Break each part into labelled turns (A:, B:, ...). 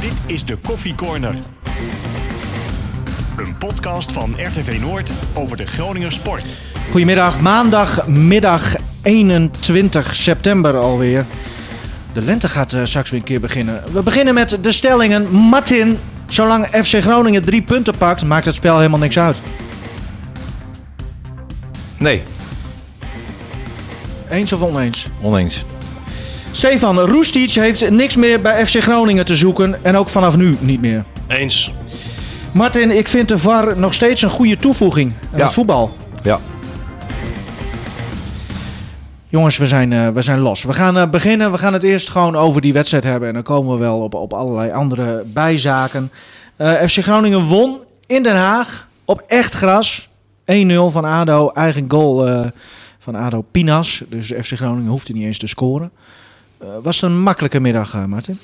A: Dit is de Koffie Corner. Een podcast van RTV Noord over de Groninger sport.
B: Goedemiddag, maandagmiddag 21 september alweer. De lente gaat eh, straks weer een keer beginnen. We beginnen met de stellingen. Martin, zolang FC Groningen drie punten pakt, maakt het spel helemaal niks uit.
C: Nee,
B: Eens of oneens?
C: oneens.
B: Stefan, Roestic heeft niks meer bij FC Groningen te zoeken en ook vanaf nu niet meer.
A: Eens.
B: Martin, ik vind de VAR nog steeds een goede toevoeging aan
C: Ja.
B: het voetbal.
C: Ja,
B: Jongens, we zijn, eh, we zijn los. We gaan eh, beginnen. We gaan het eerst gewoon over die wedstrijd hebben. En dan komen we wel op, op allerlei andere bijzaken. Eh, FC Groningen won in Den Haag op echt gras. 1-0 van ADO. Eigen goal eh, van ADO Pinas. Dus FC Groningen hoefde niet eens te scoren. Eh, was het een makkelijke middag, eh, Martin?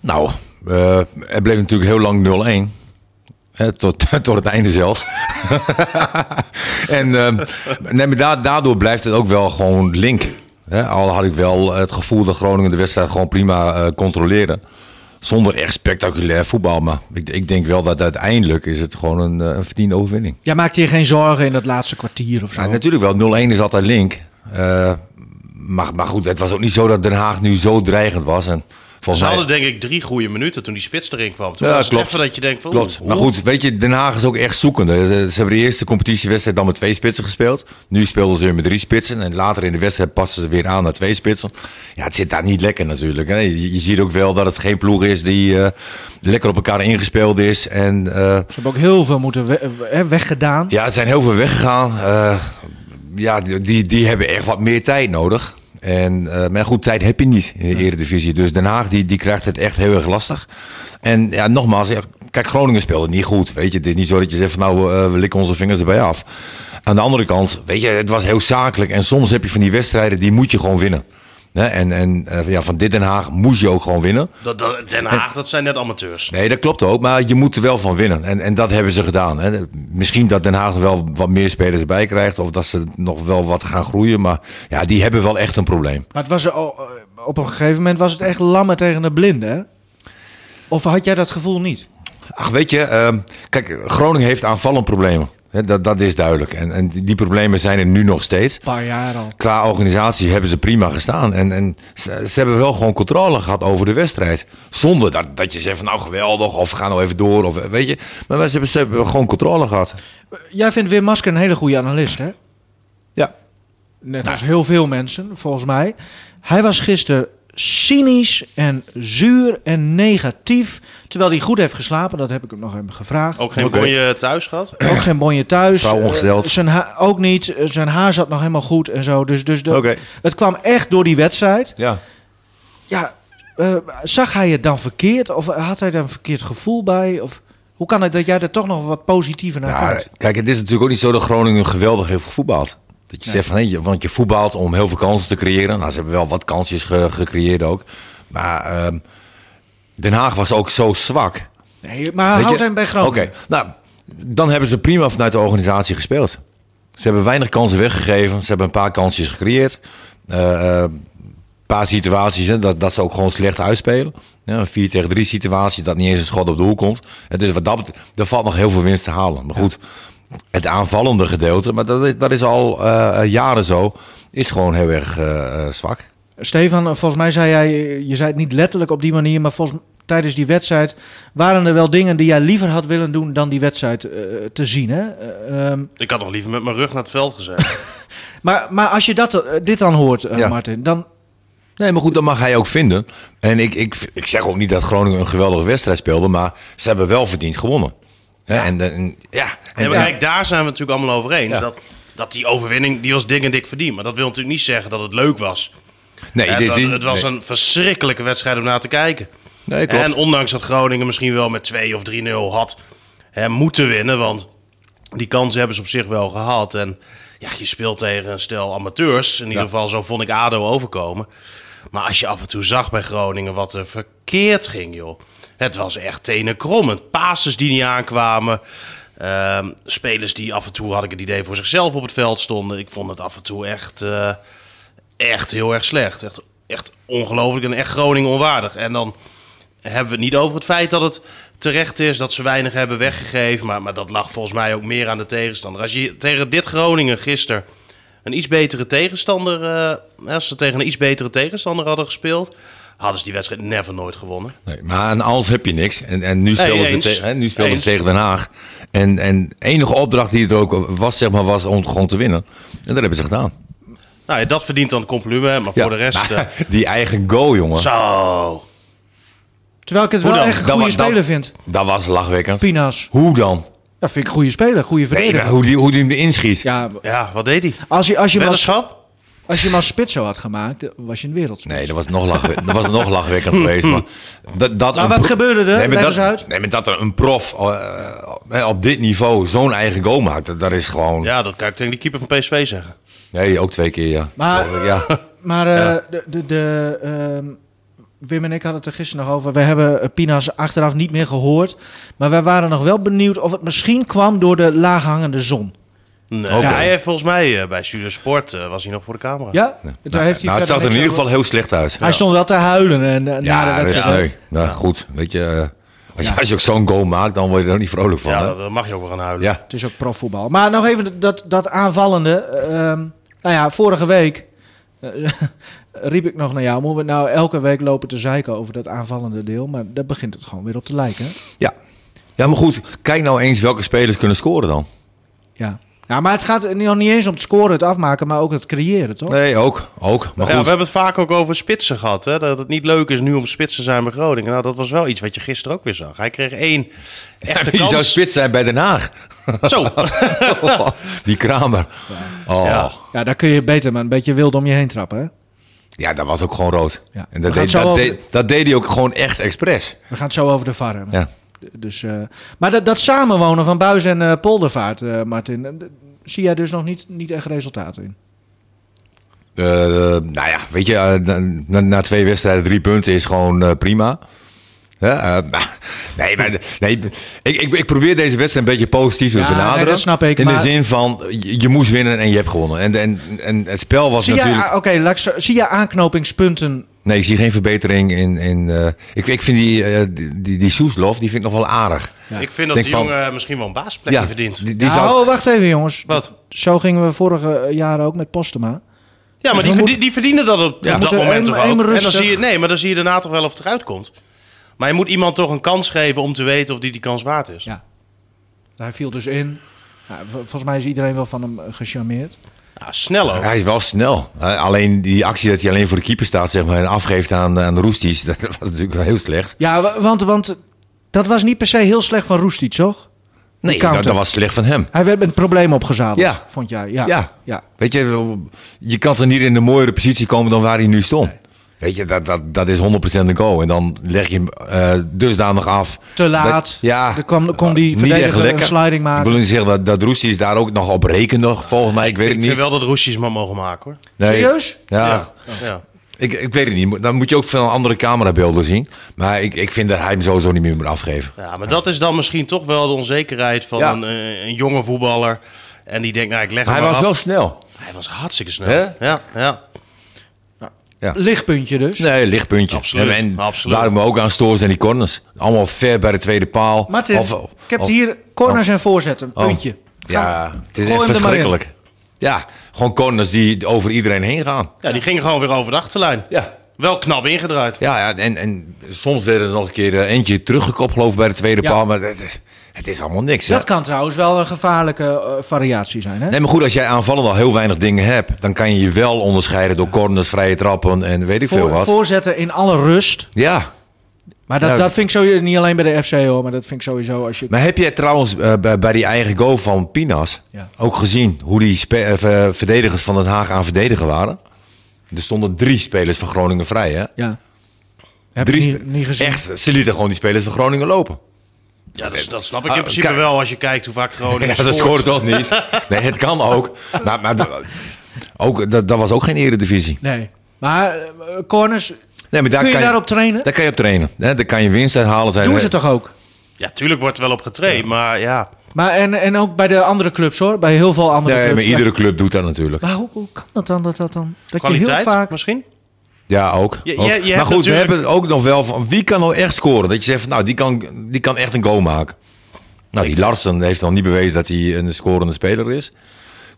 C: nou, eh het bleef natuurlijk heel lang 0-1. Hè, tot, tot het einde zelfs. en ehm, nee, maar da- daardoor blijft het ook wel gewoon link. Hè, al had ik wel het gevoel dat Groningen de wedstrijd gewoon prima eh, controleerde. Zonder echt spectaculair voetbal. Maar ik, ik denk wel dat uiteindelijk is het gewoon een, eh, een verdiende overwinning.
B: Jij maakte je geen zorgen in dat laatste kwartier of zo?
C: Ja, Nou, natuurlijk wel. 0-1 is altijd link. Eh, maar, maar goed, het was ook niet zo dat Den Haag nu zo dreigend was. En volgens
D: Ze
C: mij...
D: hadden denk ik drie goede minuten toen die spits erin kwam. Toen
C: Ja,
D: was het
C: klopt.
D: even dat je denkt van...
C: Klopt.
D: oeh,
C: Maar
D: oeh.
C: goed, weet je, Den Haag is ook echt zoekende. Ze ze hebben de eerste competitiewedstrijd dan met twee spitsen gespeeld. Nu speelden ze weer met drie spitsen. En later in de wedstrijd passen ze weer aan naar twee spitsen. Ja, het zit daar niet lekker natuurlijk. hè. Je, je ziet ook wel dat het geen ploeg is die eh, lekker op elkaar ingespeeld is. En eh,
B: Ze hebben ook heel veel moeten we- eh, weggedaan.
C: ja, er zijn heel veel weggegaan. Eh, ja, die, die hebben echt wat meer tijd nodig. En, eh, maar goed, tijd heb je niet in de Eredivisie. Dus Den Haag die, die krijgt het echt heel erg lastig. En ja, nogmaals, ja, kijk, Groningen speelde niet goed. Weet je, het is niet zo dat je zegt van nou, eh, we likken onze vingers erbij af. Aan de andere kant, weet je, het was heel zakelijk. En soms heb je van die wedstrijden, die moet je gewoon winnen. Hè? En, en eh, ja, van dit Den Haag moest je ook gewoon winnen.
D: Dat, dat- Den Haag, dat zijn net amateurs.
C: Nee, dat klopt ook. Maar je moet er wel van winnen. En, en dat hebben ze gedaan. Hè. Misschien dat Den Haag er wel wat meer spelers bij krijgt. Of dat ze nog wel wat gaan groeien. Maar ja, die hebben wel echt een probleem.
B: Maar het was, eh, oh, eh, op een gegeven moment was het echt lammen tegen de blinden, hè? Of had jij dat gevoel niet?
C: Ach, weet je. ehm, kijk, Groningen heeft aanvallend problemen. Hè, dat, dat is duidelijk. En, en die problemen zijn er nu nog steeds.
B: Een paar jaar al.
C: Qua organisatie hebben ze prima gestaan. En, en ze, ze hebben wel gewoon controle gehad over de wedstrijd. Zonder dat, dat je zegt van nou geweldig. Of we gaan nou even door. Of, weet je. Maar ze hebben, ze hebben gewoon controle gehad.
B: Jij vindt Wim Masker een hele goede analist, hè?
C: Ja.
B: Net als heel veel mensen, volgens mij. Hij was gisteren cynisch en zuur en negatief. Terwijl hij goed heeft geslapen, dat heb ik hem nog even gevraagd.
D: Ook geen
C: Oké.
D: bonje eh, thuis gehad.
B: Ook geen bonje thuis.
C: Vrouw ongesteld.
B: Eh, zijn ha- ook niet. Eh, Zijn haar zat nog helemaal goed en zo. Dus, dus de-
C: Oké.
B: het kwam echt door die wedstrijd.
C: Ja.
B: Ja, eh, zag hij het dan verkeerd? Of had hij daar een verkeerd gevoel bij? Of hoe kan het dat jij er toch nog wat positiever naar
C: Ja,
B: kijkt?
C: Nou, kijk, het is natuurlijk ook niet zo dat Groningen geweldig heeft gevoetbald. Dat je zegt van, hé, je- want je voetbalt om heel veel kansen te creëren. Nou, ze hebben wel wat kansjes ge- gecreëerd ook. Maar ehm, Den Haag was ook zo zwak.
B: Nee, maar
C: eh, Weet
B: houd
C: je-
B: hem bij Groningen.
C: Oké, nou, dan hebben ze prima vanuit de organisatie gespeeld. Ze hebben weinig kansen weggegeven. Ze hebben een paar kansjes gecreëerd. Eh, eh, een paar situaties hè, dat, dat ze ook gewoon slecht uitspelen. Ja, een 4 tegen 3 situatie dat niet eens een schot op de hoek komt. Het is wat dat betreft, er valt nog heel veel winst te halen. Maar goed, het aanvallende gedeelte, maar dat is, dat is al eh, jaren zo, is gewoon heel erg eh, eh, zwak.
B: Stefan, volgens mij zei jij, je zei het niet letterlijk op die manier, maar volgens, tijdens die wedstrijd waren er wel dingen die jij liever had willen doen dan die wedstrijd eh, te zien. Hè? Eh, ehm,
D: Ik had nog liever met mijn rug naar het veld gezet.
B: maar, maar als je dat, eh, dit dan hoort, eh,
C: Ja.
B: Martin, dan.
C: Nee, maar goed, dat mag hij ook vinden. En ik, ik, ik zeg ook niet dat Groningen een geweldige wedstrijd speelde, maar ze hebben wel verdiend gewonnen. Hè, En, en- ja, en,
D: En
C: en-
D: kijk, daar zijn we natuurlijk allemaal over eens.
C: Ja.
D: Dat, dat die overwinning, die was dik en dik verdiend. Maar dat wil natuurlijk niet zeggen dat het leuk was.
C: nee,
D: Hè,
C: dit,
D: dat-
C: dit-
D: het was
C: nee.
D: een verschrikkelijke wedstrijd om naar te kijken.
C: Nee, klopt.
D: En ondanks dat Groningen misschien wel met 2 of 3-0 had hè, moeten winnen. Want die kansen hebben ze op zich wel gehad. En ja, je speelt tegen een stel amateurs. In ieder geval, zo vond ik ADO overkomen. Maar als je af en toe zag bij Groningen wat er verkeerd ging, joh. Het was echt tenenkrommend. Passes die niet aankwamen. Ehm, spelers die af en toe, had ik het idee, voor zichzelf op het veld stonden. Ik vond het af en toe echt, eh, echt heel erg slecht. Echt echt ongelooflijk en echt Groningen onwaardig. En dan hebben we het niet over het feit dat het terecht is dat ze weinig hebben weggegeven. Maar, maar dat lag volgens mij ook meer aan de tegenstander. Als je tegen dit Groningen gisteren een iets betere tegenstander. eh, als ze tegen een iets betere tegenstander hadden gespeeld. hadden ze die wedstrijd never nooit gewonnen.
C: Nee, maar aan als heb je niks. En, en nu speelden,
D: eens.
C: ze, te- hè, nu speelden ze
D: Eens.
C: tegen Den Haag. En, en enige opdracht die er ook was, zeg maar, was om gewoon te winnen. En dat hebben ze gedaan.
D: Nou ja, dat verdient dan compliment. Maar voor de rest. eh,
C: Maar die eigen goal, jongen.
D: zo.
B: Terwijl ik het
D: Hoe
B: wel
D: dan?
B: echt een
C: Dat
B: goede
C: wa- dat-
B: speler vind.
C: Dat was lachwekkend.
B: Pinas.
C: Hoe dan?
B: Dat vind ik een goede speler, goede
C: Nee, nou.
B: verdediger.
C: maar hoe, die, hoe die hem erin schiet.
B: ja,
D: Ja, wat deed hij?
B: als je, als je, hem als,
D: Weddenschap?
B: als je hem als spits zo had gemaakt, eh, was je een wereldspits.
C: Nee, dat was nog, lachwe dat was nog lachwekkend geweest. Maar, dat, dat
B: Maar
C: een
B: wat
C: pro-
B: gebeurde er?
C: maar
B: Leg
C: dat,
B: eens uit.
C: Nee, maar dat er een prof eh, eh, op dit niveau zo'n eigen goal maakt, dat, dat is gewoon...
D: Ja, dat kan ik tegen de keeper van PSV zeggen.
C: Nee, ook twee keer, ja.
B: Maar-
C: Oh, ja.
B: Maar eh, de, de, de, ehm, Wim en ik hadden het er gisteren nog over. We hebben eh, Pinas achteraf niet meer gehoord. Maar wij waren nog wel benieuwd of het misschien kwam door de laaghangende zon.
D: Nee,
C: Oké.
D: Hij heeft volgens mij eh, bij Studio Sport eh, was hij nog voor de camera.
B: Ja? Daar
C: Nou,
B: heeft hij
C: nou, het
B: verder
C: zag er in
B: niks
C: ieder
B: over.
C: geval heel slecht uit.
B: Hij stond wel te huilen. En, eh, na de
C: Ja, dat is
B: wedstrijd.
C: sneu. Nou, goed. Weet je, eh, als je, als je ook zo'n goal maakt, dan word je er ook niet vrolijk van.
D: Ja,
C: hè?
D: daar- daar mag je ook wel aan huilen.
C: ja.
B: Het is ook profvoetbal. Maar nog even dat, dat aanvallende. ehm, nou ja, vorige week eh, riep ik nog naar jou. Moeten we nou elke week lopen te zeiken over dat aanvallende deel? Maar daar begint het gewoon weer op te lijken. hè?
C: ja. Ja, maar goed. Kijk nou eens welke spelers kunnen scoren dan.
B: Ja. ja, maar het gaat nog niet eens om het scoren, het afmaken, maar ook het creëren, toch?
C: Nee, ook. Ook. Maar
D: Ja,
C: goed.
D: we hebben het vaak ook over spitsen gehad. Hè? Dat het niet leuk is nu om spitsen te zijn bij Groningen. Nou, dat was wel iets wat je gisteren ook weer zag. Hij kreeg één echte
C: Wie zou Oh.
D: kans.
C: spits zijn bij Den Haag?
D: Zo.
C: Die Kramer. Oh.
D: Ja.
C: Ja.
B: Ja, daar kun je beter maar een beetje wild om je heen trappen. Hè?
C: dat was ook gewoon rood.
B: Ja. We
C: En dat
B: gaan
C: deed,
B: zo
C: dat,
B: over-
C: deed, dat deed hij ook gewoon echt expres.
B: We gaan het zo over de VAR hebben.
C: Ja.
B: D- Dus, eh, maar dat, dat samenwonen van Buis en eh, Poldervaart, eh, Martin, eh, d- zie jij dus nog niet, niet echt resultaten in?
C: Eh, eh, nou ja, weet je, eh, na- na, na twee wedstrijden drie punten is gewoon eh, prima. Ja, eh, maar- nee, maar, de- nee ik, ik, ik probeer deze wedstrijd een beetje positief te
B: Ja, nee,
C: benaderen.
B: dat snap ik,
C: In
B: maar-
C: de zin van, je, je moest winnen en je hebt gewonnen. En, en, en het spel was
B: Zie jij,
C: natuurlijk...
B: ah, oké, laat ik zo- zie jij aanknopingspunten?
C: Nee, ik zie geen verbetering in... in eh, ik, ik vind die, eh, die, die, die Soeslof, die vind ik nog wel aardig.
D: Ik vind dat
C: Denk
D: die
C: van-
D: jongen misschien wel een baasplekje verdient.
C: die, die
B: nou,
C: zou...
B: oh, wacht even jongens.
D: Wat?
B: Zo gingen we vorige eh, jaren ook met Postema.
D: Ja, maar die,
B: We
D: verdi- die verdienen dat op, op dat
B: moeten
D: moment
B: een-
D: toch
B: een
D: ook. En dan
B: rustig-
D: zie je, nee, maar dan zie je daarna toch wel of het eruit komt. Maar je moet iemand toch een kans geven om te weten of die die kans waard is.
B: Ja. Hij viel dus in. Ja, v- volgens mij is iedereen wel van hem eh, gecharmeerd.
D: Ja, snel ook.
C: Oh. Hij is wel snel. Eh, alleen die actie dat hij alleen voor de keeper staat zeg maar, en afgeeft aan, aan Roesties, dat was natuurlijk wel heel slecht.
B: Ja, wa- want, want dat was niet per se heel slecht van Roestic, toch? Die
C: Nee,
B: counter.
C: dat, dat was slecht van hem.
B: Hij werd met een probleem opgezadeld,
C: Ja.
B: vond jij? Ja.
C: Ja.
B: ja.
C: Weet je, je kan toch niet in een mooiere positie komen dan waar hij nu stond. Weet je, dat, dat, dat is 100% een goal. En dan leg je hem eh, dusdanig af.
B: Te laat.
C: Dat- ja,
B: Er kwam- kon die
C: Niet echt
B: verdediger
C: lekker.
B: een sliding
C: Ik
B: maken.
C: wil niet zeggen dat, dat Roestie is daar ook nog op rekende. Volgens mij, ik weet
D: ik
C: het
D: vind
C: niet.
D: wel dat Roesjes maar mogen maken hoor.
C: Nee.
B: Serieus?
C: Ja,
D: ja.
C: Ik, ik weet het niet. Dan moet je ook veel andere camerabeelden zien. Maar ik, ik vind dat hij hem sowieso niet meer moet afgeven.
D: Ja, maar dat is dan misschien toch wel de onzekerheid van
C: Ja.
D: een, eh, een jonge voetballer. En die denkt, nou ik leg hem
C: Hij
D: maar
C: was
D: af.
C: wel snel.
D: Hij was hartstikke snel.
C: Hè?
D: Ja, ja.
B: Lichtpuntje dus.
C: Nee, lichtpuntje.
D: Absoluut,
C: En
D: absoluut.
C: daarom ook aan stoor zijn die corners. Allemaal ver bij de tweede paal.
B: Martin,
C: Of- of-
B: ik heb
C: of-
B: hier corners en voorzetten.
C: Oh.
B: Puntje.
C: Ja,
B: Ga-
C: het is
B: gooi
C: echt
B: hem er maar in.
C: verschrikkelijk. Ja, gewoon corners die over iedereen heen gaan.
D: ja, die ging gewoon weer over de achterlijn.
C: Ja.
D: Wel knap ingedraaid.
C: Ja, ja en, en soms werd er nog een keer eh, eentje teruggekopt, geloof ik, bij de tweede
B: Ja.
C: paal. Maar het, is- het is allemaal niks. hè.
B: Dat kan trouwens wel een gevaarlijke eh, variatie zijn, hè?
C: Nee, maar goed, als jij aanvallend al heel weinig dingen hebt, dan kan je je wel onderscheiden door corners, vrije trappen en weet ik veel
B: Voor-
C: wat. Nou,
B: voorzetten in alle rust.
C: Ja,
B: Maar dat,
C: Ja.
B: dat vind ik sowieso niet alleen bij de FC hoor, maar dat vind ik sowieso als je.
C: maar heb jij trouwens eh, bij, bij die eigen goal van Pinas
B: Ja.
C: ook gezien hoe die spe- eh, ver- verdedigers van Den Haag aan verdedigen waren? Er stonden drie spelers van Groningen vrij, hè?
B: Ja. Heb
C: Drie
B: ik niet,
C: spe-
B: niet gezien.
C: Echt, ze lieten gewoon die spelers van Groningen lopen.
D: Ja, dat, dat snap ik in
C: Ah,
D: principe
C: kijk.
D: wel als je kijkt hoe vaak Groningen
C: Ja, dat scoort toch niet? Nee, het kan ook. Nou, Maar, maar d- ook, dat, dat was ook geen eredivisie.
B: Nee. Maar eh, corners,
C: Nee, maar daar
B: kun je
C: kan
B: daarop trainen?
C: Daar kan je op trainen. Hè? Daar kan je winst uithalen. Zijn
B: Doen
C: er-
B: ze toch ook?
D: Ja, tuurlijk wordt er wel op getraind, maar ja.
B: Maar en, en ook bij de andere clubs hoor, bij heel veel andere
C: Nee, maar
B: clubs.
C: iedere club doet dat natuurlijk.
B: Maar hoe, hoe kan dat dan dat dat dan dat je heel
D: Kwaliteit
B: vaak
D: misschien?
C: Ja, ook.
D: Je- je-
C: ook.
D: je hebt
C: maar goed, we
D: natuurlijk-
C: hebben het ook nog wel van wie kan nou echt scoren? Dat je zegt van nou, die kan, die kan echt een goal maken. Nou, die Larsen heeft nog niet bewezen dat hij een scorende speler is.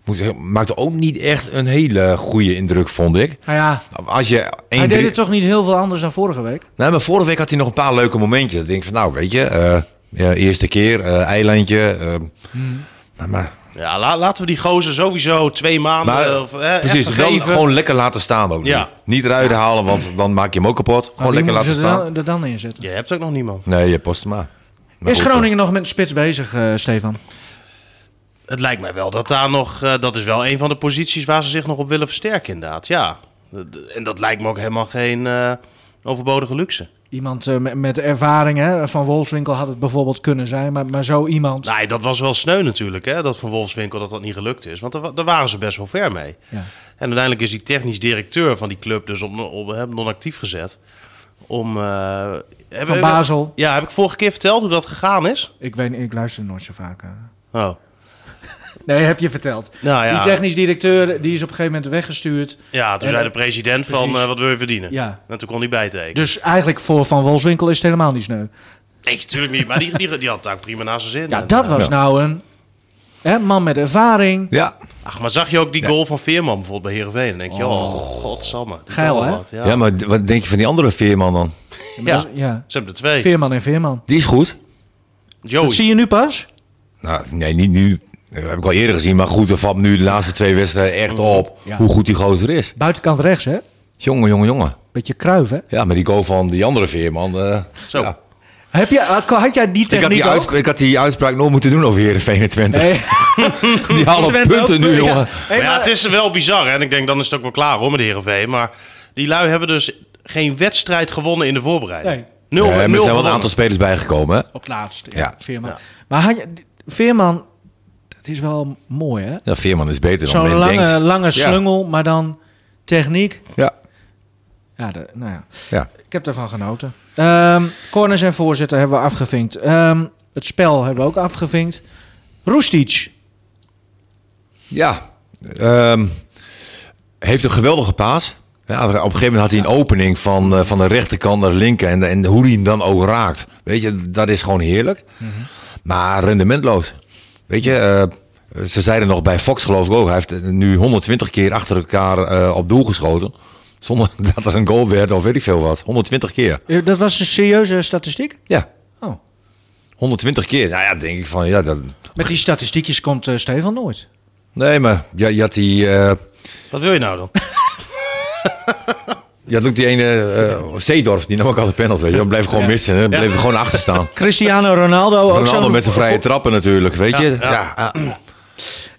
C: Ik Moet zeggen, maakte ook niet echt een hele goede indruk, vond ik.
B: Nou ja,
C: Als je
B: hij
C: één
B: deed
C: drie-
B: het toch niet heel veel anders dan vorige week?
C: Nee, maar vorige week had hij nog een paar leuke momentjes. Dan denk ik van nou, weet je, eh, ja, eerste keer, eh, eilandje. eh,
D: Hmm.
C: maar, maar,
D: Ja, la- laten we die gozer sowieso twee maanden
C: maar
D: of, eh,
C: precies,
D: echt
C: dan
D: geven.
C: gewoon lekker laten staan ook.
D: Ja.
C: Niet eruit halen, want dan maak je hem ook kapot. Gewoon
B: Nou, wie
C: lekker laten
B: moeten ze
C: staan.
B: er dan- er dan in zetten?
D: Je hebt ook nog niemand.
C: Nee, je post hem maar. Maar
B: Is
C: goed,
B: Groningen nog met een spits bezig, eh, Stefan?
D: Het lijkt mij wel dat daar nog... eh, dat is wel een van de posities waar ze zich nog op willen versterken, inderdaad. Ja. En dat lijkt me ook helemaal geen eh, overbodige luxe.
B: Iemand eh, met, met ervaring, hè? Van Wolfswinkel had het bijvoorbeeld kunnen zijn, maar, maar zo iemand.
C: Nou.
D: Nee, dat was wel sneu natuurlijk, hè, dat van Wolfswinkel dat dat niet gelukt is. Want daar, wa- daar waren ze best wel ver mee.
B: Ja.
D: En uiteindelijk is die technisch directeur van die club dus op, op, hè, non-actief gezet. Om, eh, heb-
B: Van
D: heb-
B: Basel.
D: Ja, heb ik vorige keer verteld hoe dat gegaan is?
B: Ik, weet, niet, ik luister nooit zo vaak. eh.
D: Oh,
B: Nee, heb je verteld.
D: nou ja.
B: Die technisch directeur die is op een gegeven moment weggestuurd.
D: ja, toen
B: Ja,
D: zei de
B: dat-
D: president van,
B: precies.
D: eh, wat wil je verdienen?
B: Ja.
D: En toen kon hij bijtekenen.
B: Dus eigenlijk voor Van Wolfswinkel is het helemaal niet sneu.
D: Nee, natuurlijk niet, maar die, die, die had het eigenlijk prima naar zijn zin.
B: Ja,
D: En,
B: dat
D: eh,
B: was
C: ja.
B: nou een hè, man met ervaring.
C: eh, Ja,
D: Ach, maar zag je ook die goal van Veerman bijvoorbeeld bij Heerenveen? Dan denk je, oh, godsamme. die
B: Geil,
D: kan wel
B: hè?
D: wat,
C: ja.
D: Ja. Ja,
C: maar d- wat denk je van die andere veerman dan?
B: Ja. ja.
D: Ze hebben er twee.
B: Veerman en Veerman.
C: Die is goed.
B: Dat
D: Joey.
B: zie je nu pas?
C: Nou, nee, niet nu. Dat heb ik al eerder gezien. Maar goed, er valt nu de laatste twee wedstrijden echt op
B: Mm. Ja.
C: hoe goed die gozer is.
B: Buitenkant rechts, hè?
C: Jongen, jongen, jongen.
B: Beetje kruiven.
C: Ja, maar die goal van die andere veerman. eh,
D: Zo.
C: ja.
B: Heb je, ah, had jij die
C: ik, had
B: techniek
C: die uitsp-
B: ook?
C: ik had die uitspraak nooit moeten doen over Heerenveen en Twente.
B: Nee.
C: Die halen
B: Twente ook,
C: punten nu,
B: ja.
C: jongen.
B: Hey,
D: maar ja,
B: maar-
D: het is wel bizar. Hè? En ik denk, dan is het ook wel klaar hoor, met de Heerenveen. Maar die lui hebben dus geen wedstrijd gewonnen in de voorbereiding.
B: Nee.
D: Nul,
C: Eh, maar er
D: nul
C: zijn wel een
D: gewonnen.
C: aantal spelers bijgekomen. Hè?
B: Op het laatst, ja.
C: Ja.
B: Veerman.
D: Ja.
B: Maar had je, Veerman, dat is wel mooi, hè?
C: Ja, veerman is beter dan
B: Zo'n
C: men
B: lange,
C: denkt.
B: lange
C: Ja.
B: slungel, maar dan techniek.
C: Ja,
B: Ja, de, nou ja.
C: ja.
B: Ik heb daarvan genoten. Ehm, corners en voorzitter hebben we afgevinkt. Ehm, het spel hebben we ook afgevinkt. Roestic.
C: Ja, ehm, heeft een geweldige paas. Ja, op een gegeven moment had hij een opening van, eh, van de rechterkant naar de linker. En, en hoe hij hem dan ook raakt. Weet je, dat is gewoon heerlijk. Maar rendementloos. Weet je, eh, ze zeiden nog bij Fox geloof ik ook. Hij heeft nu 120 keer achter elkaar eh, op doel geschoten. Zonder dat er een goal werd of weet ik veel wat. 120 keer.
B: Eh, Dat was een serieuze statistiek.
C: Ja,
B: Oh.
C: 120 keer. Nou ja, denk ik van ja, dat...
B: Met die statistiekjes komt eh, Stefan nooit.
C: Nee, maar je, je had die... eh,
D: Wat wil je nou dan?
C: Ja, had ook die ene eh, Zeedorf, die nam ook altijd penalty. Weet je. Dat bleef gewoon missen. Hè. Bleef gewoon achter staan.
B: Cristiano Ronaldo, ook
C: Ronaldo
B: zo'n-
C: met zijn vrije trappen natuurlijk, weet je. Ja, ah,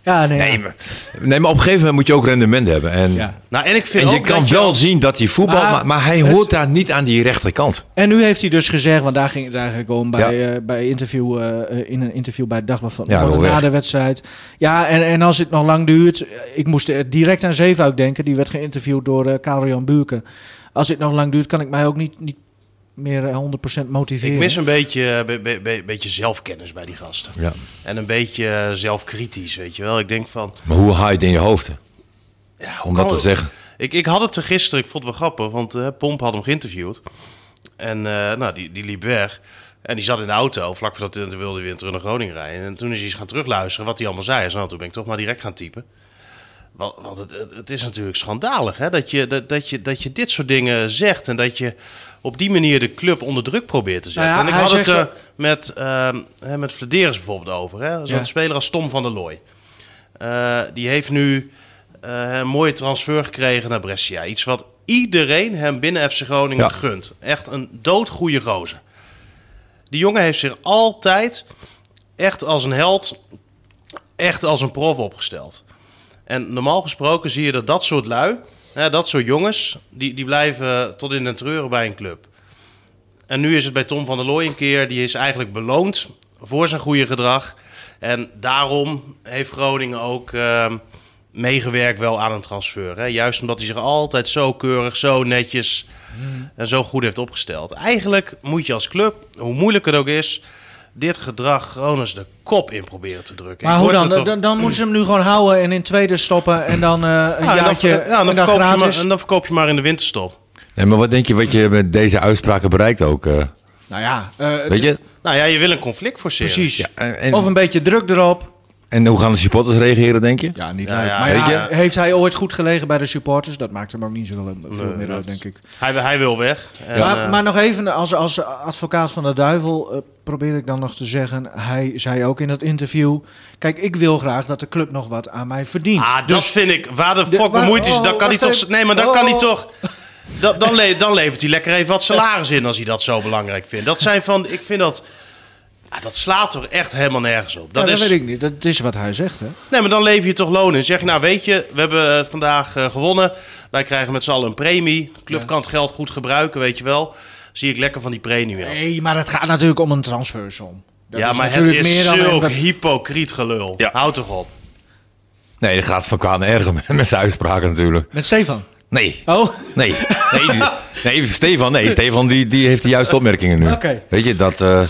B: Ja, nee.
C: nee,
B: ja.
C: maar, nee, maar op een gegeven moment moet je ook rendement hebben. En,
B: Ja.
D: Nou, en ik vind
C: en je
D: ook
C: kan
D: dat je-
C: wel zien dat hij voetbal...
B: Maar
C: Maar, maar, hij
B: het-
C: hoort daar niet aan die rechterkant.
B: En nu heeft hij dus gezegd, want daar ging het eigenlijk om bij,
C: Ja.
B: eh, bij interview, eh, eh, in een interview bij het Dagblad van
C: Ja,
B: Noorden
C: wil
B: na
C: weg.
B: de wedstrijd. Ja, en, en als het nog lang duurt, eh, ik moest eh, direct aan Zeefuik denken, die werd geïnterviewd door eh Karel-Jan Buurken. Als het nog lang duurt, kan ik mij ook niet, niet meer eh, 100% motiveren.
D: Ik mis een beetje, be- be- be- beetje zelfkennis bij die gasten.
C: Ja.
D: En een beetje eh, zelfkritisch, weet je wel. Ik denk van...
C: Maar hoe haal je het in je hoofd? om dat
D: kan-
C: te zeggen.
D: Oh, Ik, ik had het er gisteren, ik vond het wel grappig, want eh, Pomp had hem geïnterviewd. En eh, nou, die, die liep weg. En die zat in de auto, vlak voordat hij toen wilde hij weer terug naar Groningen rijden. En toen is hij eens gaan terugluisteren wat hij allemaal zei. Hij zei, nou, toen ben ik toch maar direct gaan typen. Wa- Want het, het- het is natuurlijk schandalig hè? Dat, je, dat, dat, je, dat je dit soort dingen zegt. En dat je op die manier de club onder druk probeert te zetten.
B: Nou ja,
D: en ik
B: hij
D: had het
B: zegt
D: eh, met, ehm hè, met Vladeris bijvoorbeeld over. hè. Zo'n
B: Ja.
D: speler als Tom van der Looy. Eh, die heeft nu eh, een mooie transfer gekregen naar Brescia. Iets wat iedereen hem binnen FC Groningen
C: Ja.
D: gunt. Echt een doodgoeie gozer. Die jongen heeft zich altijd echt als een held, echt als een prof opgesteld. En normaal gesproken zie je dat dat soort lui, hè, dat soort jongens, die, die blijven tot in den treuren bij een club. En nu is het bij Tom van der Looy een keer, die is eigenlijk beloond voor zijn goede gedrag. En daarom heeft Groningen ook ehm, meegewerkt wel aan een transfer. Hè? Juist omdat hij zich altijd zo keurig, zo netjes en zo goed heeft opgesteld. Eigenlijk moet je als club, hoe moeilijk het ook is, dit gedrag gewoon eens de kop in proberen te drukken.
B: maar
D: Ik
B: hoe
D: word
B: dan?
D: er toch-
B: Dan, dan moeten ze hem nu gewoon houden en in tweede stoppen en dan eh, een
D: Ja, en dan
B: jaartje
D: ver- ja, en
B: en
D: dan
B: dan
D: verkoop je
B: gratis.
D: maar- en dan verkoop je maar in de winterstop.
C: Nee, maar wat denk je wat je met deze uitspraken bereikt ook? eh?
B: Nou ja, eh, het-
C: weet je?
D: Nou ja, je wil een conflict forceren.
B: precies.
C: en, en-
B: Of een beetje druk erop.
C: en hoe gaan de supporters reageren, denk je?
B: Ja, niet
D: Ja,
B: leuk.
D: ja,
B: maar ja,
C: weet
D: je?
B: heeft hij ooit goed gelegen bij de supporters? Dat maakt hem ook niet zoveel veel
D: Nee,
B: meer uit,
D: dat-
B: denk ik.
D: Hij, hij wil weg. En,
B: maar,
D: eh,
B: maar nog even, als, als advocaat van de duivel eh, probeer ik dan nog te zeggen... hij zei ook in dat interview... kijk, ik wil graag dat de club nog wat aan mij verdient.
D: Ah, dat vind ik. Waar de
B: Dus- De-
D: fuck
B: waar-
D: bemoeid is,
B: oh,
D: dan kan hij
B: wacht
D: toch.
B: even.
D: Nee, maar dan kan hij
B: Oh.
D: toch. Dan, dan, le- dan levert hij lekker even wat salaris in als hij dat zo belangrijk vindt. Dat zijn van. Ik vind dat. ah, dat slaat toch echt helemaal nergens op.
B: Ja,
D: Dat
B: dat
D: is,
B: weet ik niet. Dat is wat hij zegt, hè?
D: Nee, maar dan lever je toch loon in. Zeg je, nou weet je, we hebben eh, vandaag eh, gewonnen. Wij krijgen met z'n allen een premie. De club kan het geld goed gebruiken, weet je wel. Zie ik lekker van die premie af.
B: Nee, maar het gaat natuurlijk om een transfersom. Dat
C: dus
D: ja, maar het
B: natuurlijk
D: is
B: meer dan
D: zulk
B: een-
D: hypocriet gelul.
C: Ja.
D: Houd toch op.
C: Nee, dat gaat van kwaad naar erger met- met zijn uitspraken natuurlijk.
B: Met Stefan.
C: Nee,
B: Oh,
C: nee, nee, die- nee Stefan, nee, Stefan die, die heeft de juiste opmerkingen nu.
B: Oké.
C: Weet je, dat... eh,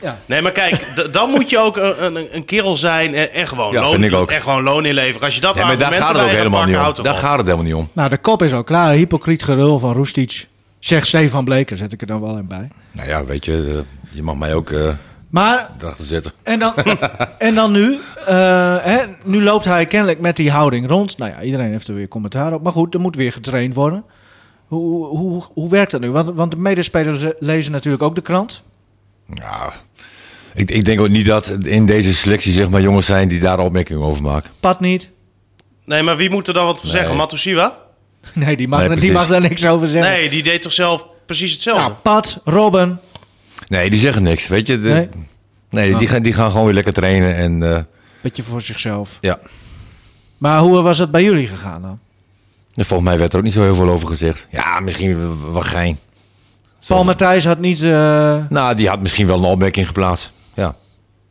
B: ja.
D: Nee, maar kijk, d- dan moet je ook een, een, een kerel zijn en, en, gewoon
C: Ja,
D: loon,
C: vind ik ook.
D: en gewoon loon inleveren. Als je dat
C: nee, maar daar
D: argument
C: gaat het ook
D: erbij
C: helemaal
D: pakken,
C: niet om.
D: houdt
C: Daar
D: ervan.
C: gaat het helemaal niet om.
B: Nou, de kop is al klaar. Hypocriet gerul van Roestic. Zegt Stefan Bleker, zet ik er dan wel in bij.
C: Nou ja, weet je, eh, je mag mij ook eh
B: Maar,
C: erachter zetten.
B: en dan, en dan nu. eh, hè, nu loopt hij kennelijk met die houding rond. Nou ja, iedereen heeft er weer commentaar op. Maar goed, er moet weer getraind worden. Hoe, hoe, hoe werkt dat nu? Want, want de medespelers eh, lezen natuurlijk ook de krant.
C: Ja, ik, ik denk ook niet dat in deze selectie zeg maar jongens zijn die daar opmerkingen over maken.
B: Pat niet.
D: Nee, maar wie moet er dan wat voor
C: Nee.
D: zeggen? Matusiwa?
B: Nee, die mag,
C: Nee,
B: die
C: precies.
B: mag daar niks over zeggen.
D: Nee, die deed toch zelf precies hetzelfde?
B: Nou, Pat, Robin.
C: Nee, die zeggen niks, weet je. De-
B: Nee. Ah.
C: nee, die, gaan, die gaan gewoon weer lekker trainen en eh,
B: Beetje voor zichzelf.
C: ja.
B: Maar hoe eh, was het bij jullie gegaan dan?
C: En Volgens mij werd er ook niet zo heel veel over gezegd. Ja, misschien w- w- wat gein.
B: Paul
C: Zoals-
B: Matthijs had niet... eh,
C: Nou, die had misschien wel een opmerking geplaatst. Ja.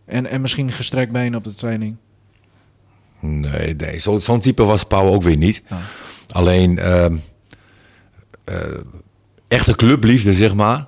B: en, en misschien gestrekt been op de training.
C: Nee, nee zo- zo'n type was Pauw ook weer niet.
B: Ja.
C: Alleen ehm, eh, echte clubliefde, zeg maar.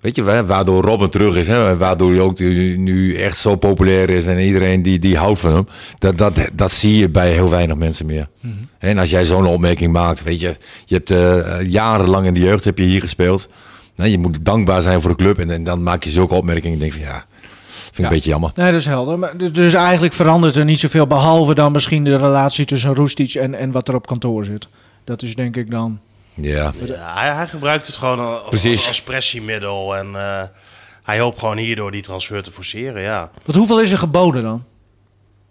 C: Weet je, wa- waardoor Robin terug is. Hè, en waardoor hij ook nu- nu echt zo populair is. En iedereen die, die houdt van hem. Dat, dat, dat zie je bij heel weinig mensen meer.
B: Mhm.
C: En als jij zo'n opmerking maakt. Weet je, je hebt eh, jarenlang in de jeugd heb je hier gespeeld. Nou, je moet dankbaar zijn voor de club. En, en dan maak je zulke opmerkingen. En denk van ja, vind ik
B: Ja.
C: een beetje jammer.
B: Nee, dat is helder. Maar d- dus eigenlijk verandert er niet zoveel, behalve dan misschien de relatie tussen Roestic en, en wat er op kantoor zit. Dat is denk ik dan.
C: Ja.
D: Ja, hij, hij gebruikt het gewoon als,
C: Precies.
D: als pressiemiddel. En eh, hij hoopt gewoon hierdoor die transfer te forceren, ja.
B: Want hoeveel is er geboden dan?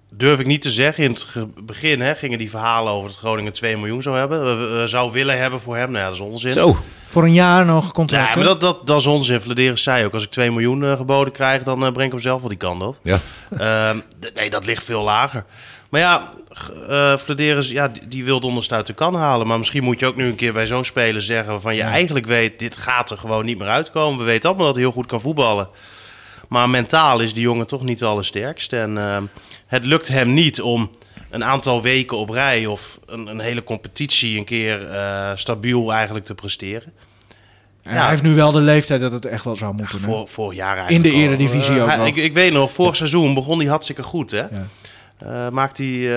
D: Durf ik niet te zeggen. In het ge- begin hè, gingen die verhalen over dat Groningen 2 miljoen zou hebben. eh, eh, zou willen hebben voor hem. Nou ja, dat is onzin.
C: Zo.
B: Voor een jaar nog contract?
D: Ja,
B: hè?
D: maar dat, dat, dat is onzin. Vladeris zei ook, als ik 2 miljoen eh, geboden krijg, dan eh, breng ik hem zelf wel die kant op.
C: Ja.
D: Ehm, d- nee, dat ligt veel lager. Maar ja, g- eh Vladeris, ja, die, die wil donders uit de kan halen. Maar misschien moet je ook nu een keer bij zo'n speler zeggen... waarvan je eigenlijk weet, dit gaat er gewoon niet meer uitkomen. We weten allemaal dat hij heel goed kan voetballen. Maar mentaal is die jongen toch niet de allersterkst. En ehm, het lukt hem niet om een aantal weken op rij... of een, een hele competitie een keer eh, stabiel eigenlijk te presteren.
B: En
D: ja.
B: Hij heeft nu wel de leeftijd dat het echt wel zou moeten. hè?
D: Voor, vorig jaar eigenlijk
B: In de
D: al.
B: Eredivisie
D: Eh,
B: ook
D: hij-
B: nog.
D: Ik, ik weet nog, vorig seizoen begon hij hartstikke goed. Hè?
B: Ja.
D: Eh, maakte hij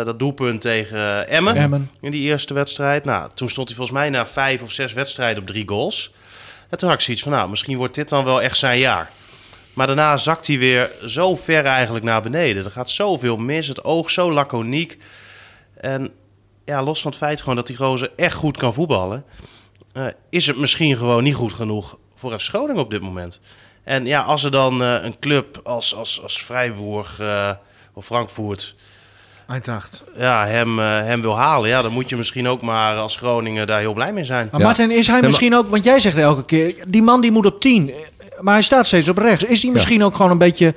D: eh, dat doelpunt tegen eh, Emmen,
B: Emmen.
D: in die eerste wedstrijd. Nou, toen stond hij volgens mij na vijf of zes wedstrijden op drie goals. En toen had ik zoiets van, nou, misschien wordt dit dan wel echt zijn jaar. Maar daarna zakt hij weer zo ver eigenlijk naar beneden. Er gaat zoveel mis, het oog zo laconiek. En ja, los van het feit gewoon dat die gozer echt goed kan voetballen... eh, is het misschien gewoon niet goed genoeg voor FC Groningen op dit moment. En ja, als er dan eh, een club als, als, als Freiburg eh, of Frankfurt
B: Eintracht.
D: ja, hem, eh, hem wil halen... Ja, dan moet je misschien ook maar als Groningen daar heel blij mee zijn.
B: Maar
C: Ja.
B: Martin, is hij
C: maar-
B: misschien ook, want jij zegt elke keer, die man die moet op 10, eh, maar hij staat steeds op rechts. Is die misschien ook gewoon een beetje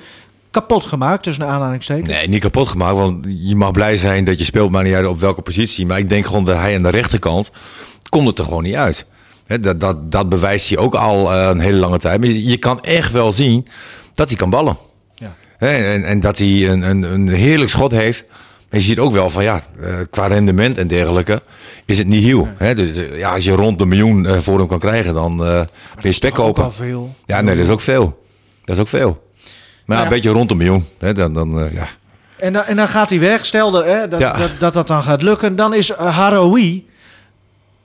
B: kapot gemaakt tussen aanhalingstekens?
C: Nee, niet kapot gemaakt. Want je mag blij zijn dat je speelt, maar niet uit op welke positie. Maar ik denk gewoon dat hij aan de rechterkant komt het er gewoon niet uit. Hè, dat, dat, dat bewijst hij ook al eh, een hele lange tijd. Maar je, je kan echt wel zien dat hij kan ballen.
B: Ja.
C: Hè, en, en dat hij een, een, een heerlijk schot heeft. Maar je ziet ook wel van ja, eh, qua rendement en dergelijke is het niet heel. Hè, dus eh, ja, als je rond de miljoen eh, voor hem kan krijgen, dan eh ben je spek
B: Ook al
C: kopen.
B: veel.
C: Ja, nee, dat is ook veel. Dat is ook veel. Maar
B: Ja.
C: ja, een beetje rond de miljoen. Hè, dan, dan, eh, ja.
B: En dan, en dan gaat hij weg. Stel dat, hè, dat,
C: Ja.
B: dat, dat dat dan gaat lukken. Dan is eh, Haroui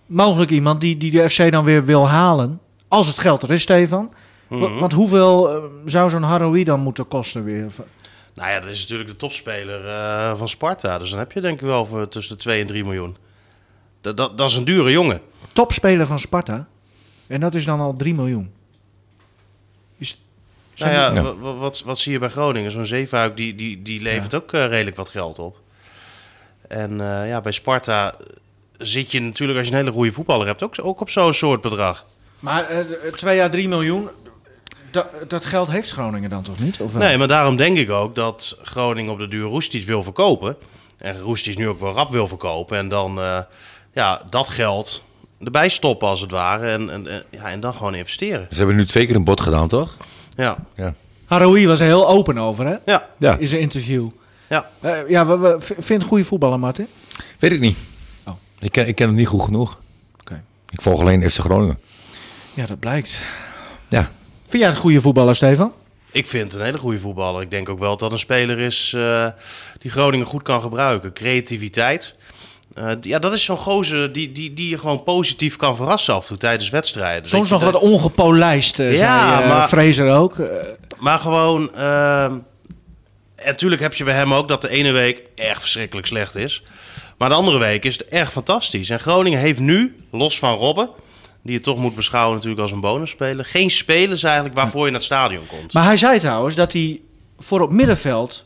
B: mogelijk iemand die, die de FC dan weer wil halen. Als het geld er is, Stefan. Wa-
D: Mhm.
B: Want hoeveel eh, zou zo'n Haroui dan moeten kosten weer?
D: Nou ja, dat is natuurlijk de topspeler eh, van Sparta. Dus dan heb je denk ik wel voor tussen de 2 en 3 miljoen. Dat, dat, dat is een dure jongen.
B: Topspeler van Sparta. En dat is dan al 3 miljoen. Is,
D: Nou
B: zijn
D: ja,
B: die-
C: Ja.
D: wa- wa- wat, wat zie je bij Groningen? Zo'n Zeefuik die, die, die levert ook eh, redelijk wat geld op. En eh, ja, bij Sparta zit je natuurlijk, als je een hele goede voetballer hebt, ook, ook op zo'n soort bedrag.
B: Maar eh, twee jaar 3 miljoen, dat, dat geld heeft Groningen dan toch niet? Of wel?
D: Nee, maar daarom denk ik ook dat Groningen op de duur Roestic wil verkopen. En Roestic nu ook wel rap wil verkopen. En dan eh, ja, dat geld erbij stoppen als het ware. En, en, en- ja, en dan gewoon investeren.
C: Ze hebben nu twee keer een bod gedaan, toch?
D: Ja,
C: Ja.
B: Haroui was er heel open over, hè?
D: ja,
C: ja.
B: Is een interview.
D: ja.
B: Eh, ja, we, we- v- vindt goede voetballer, Martin.
C: Weet ik niet.
B: Oh.
C: Ik, ken, ik ken hem niet goed genoeg.
B: Oké.
C: Ik volg alleen FC Groningen.
B: Ja, dat blijkt.
C: Ja.
B: Vind jij het goede voetballer, Stefan?
D: Ik vind het een hele goede voetballer. Ik denk ook wel dat dat een speler is eh, die Groningen goed kan gebruiken. Creativiteit. Eh, ja, dat is zo'n gozer die, die, die je gewoon positief kan verrassen af en toe tijdens wedstrijden.
B: Soms
D: Dat
B: nog
D: je
B: wat
D: dat-
B: ongepolijst, eh,
D: Ja,
B: zei eh,
D: maar-
B: Fraser ook. Eh,
D: Maar gewoon... ehm, en natuurlijk heb je bij hem ook dat de ene week echt verschrikkelijk slecht is. Maar de andere week is het echt fantastisch. En Groningen heeft nu, los van Robben... die je toch moet beschouwen natuurlijk als een bonusspeler... geen spelers eigenlijk waarvoor je naar het stadion komt.
B: maar hij zei trouwens dat hij voor op middenveld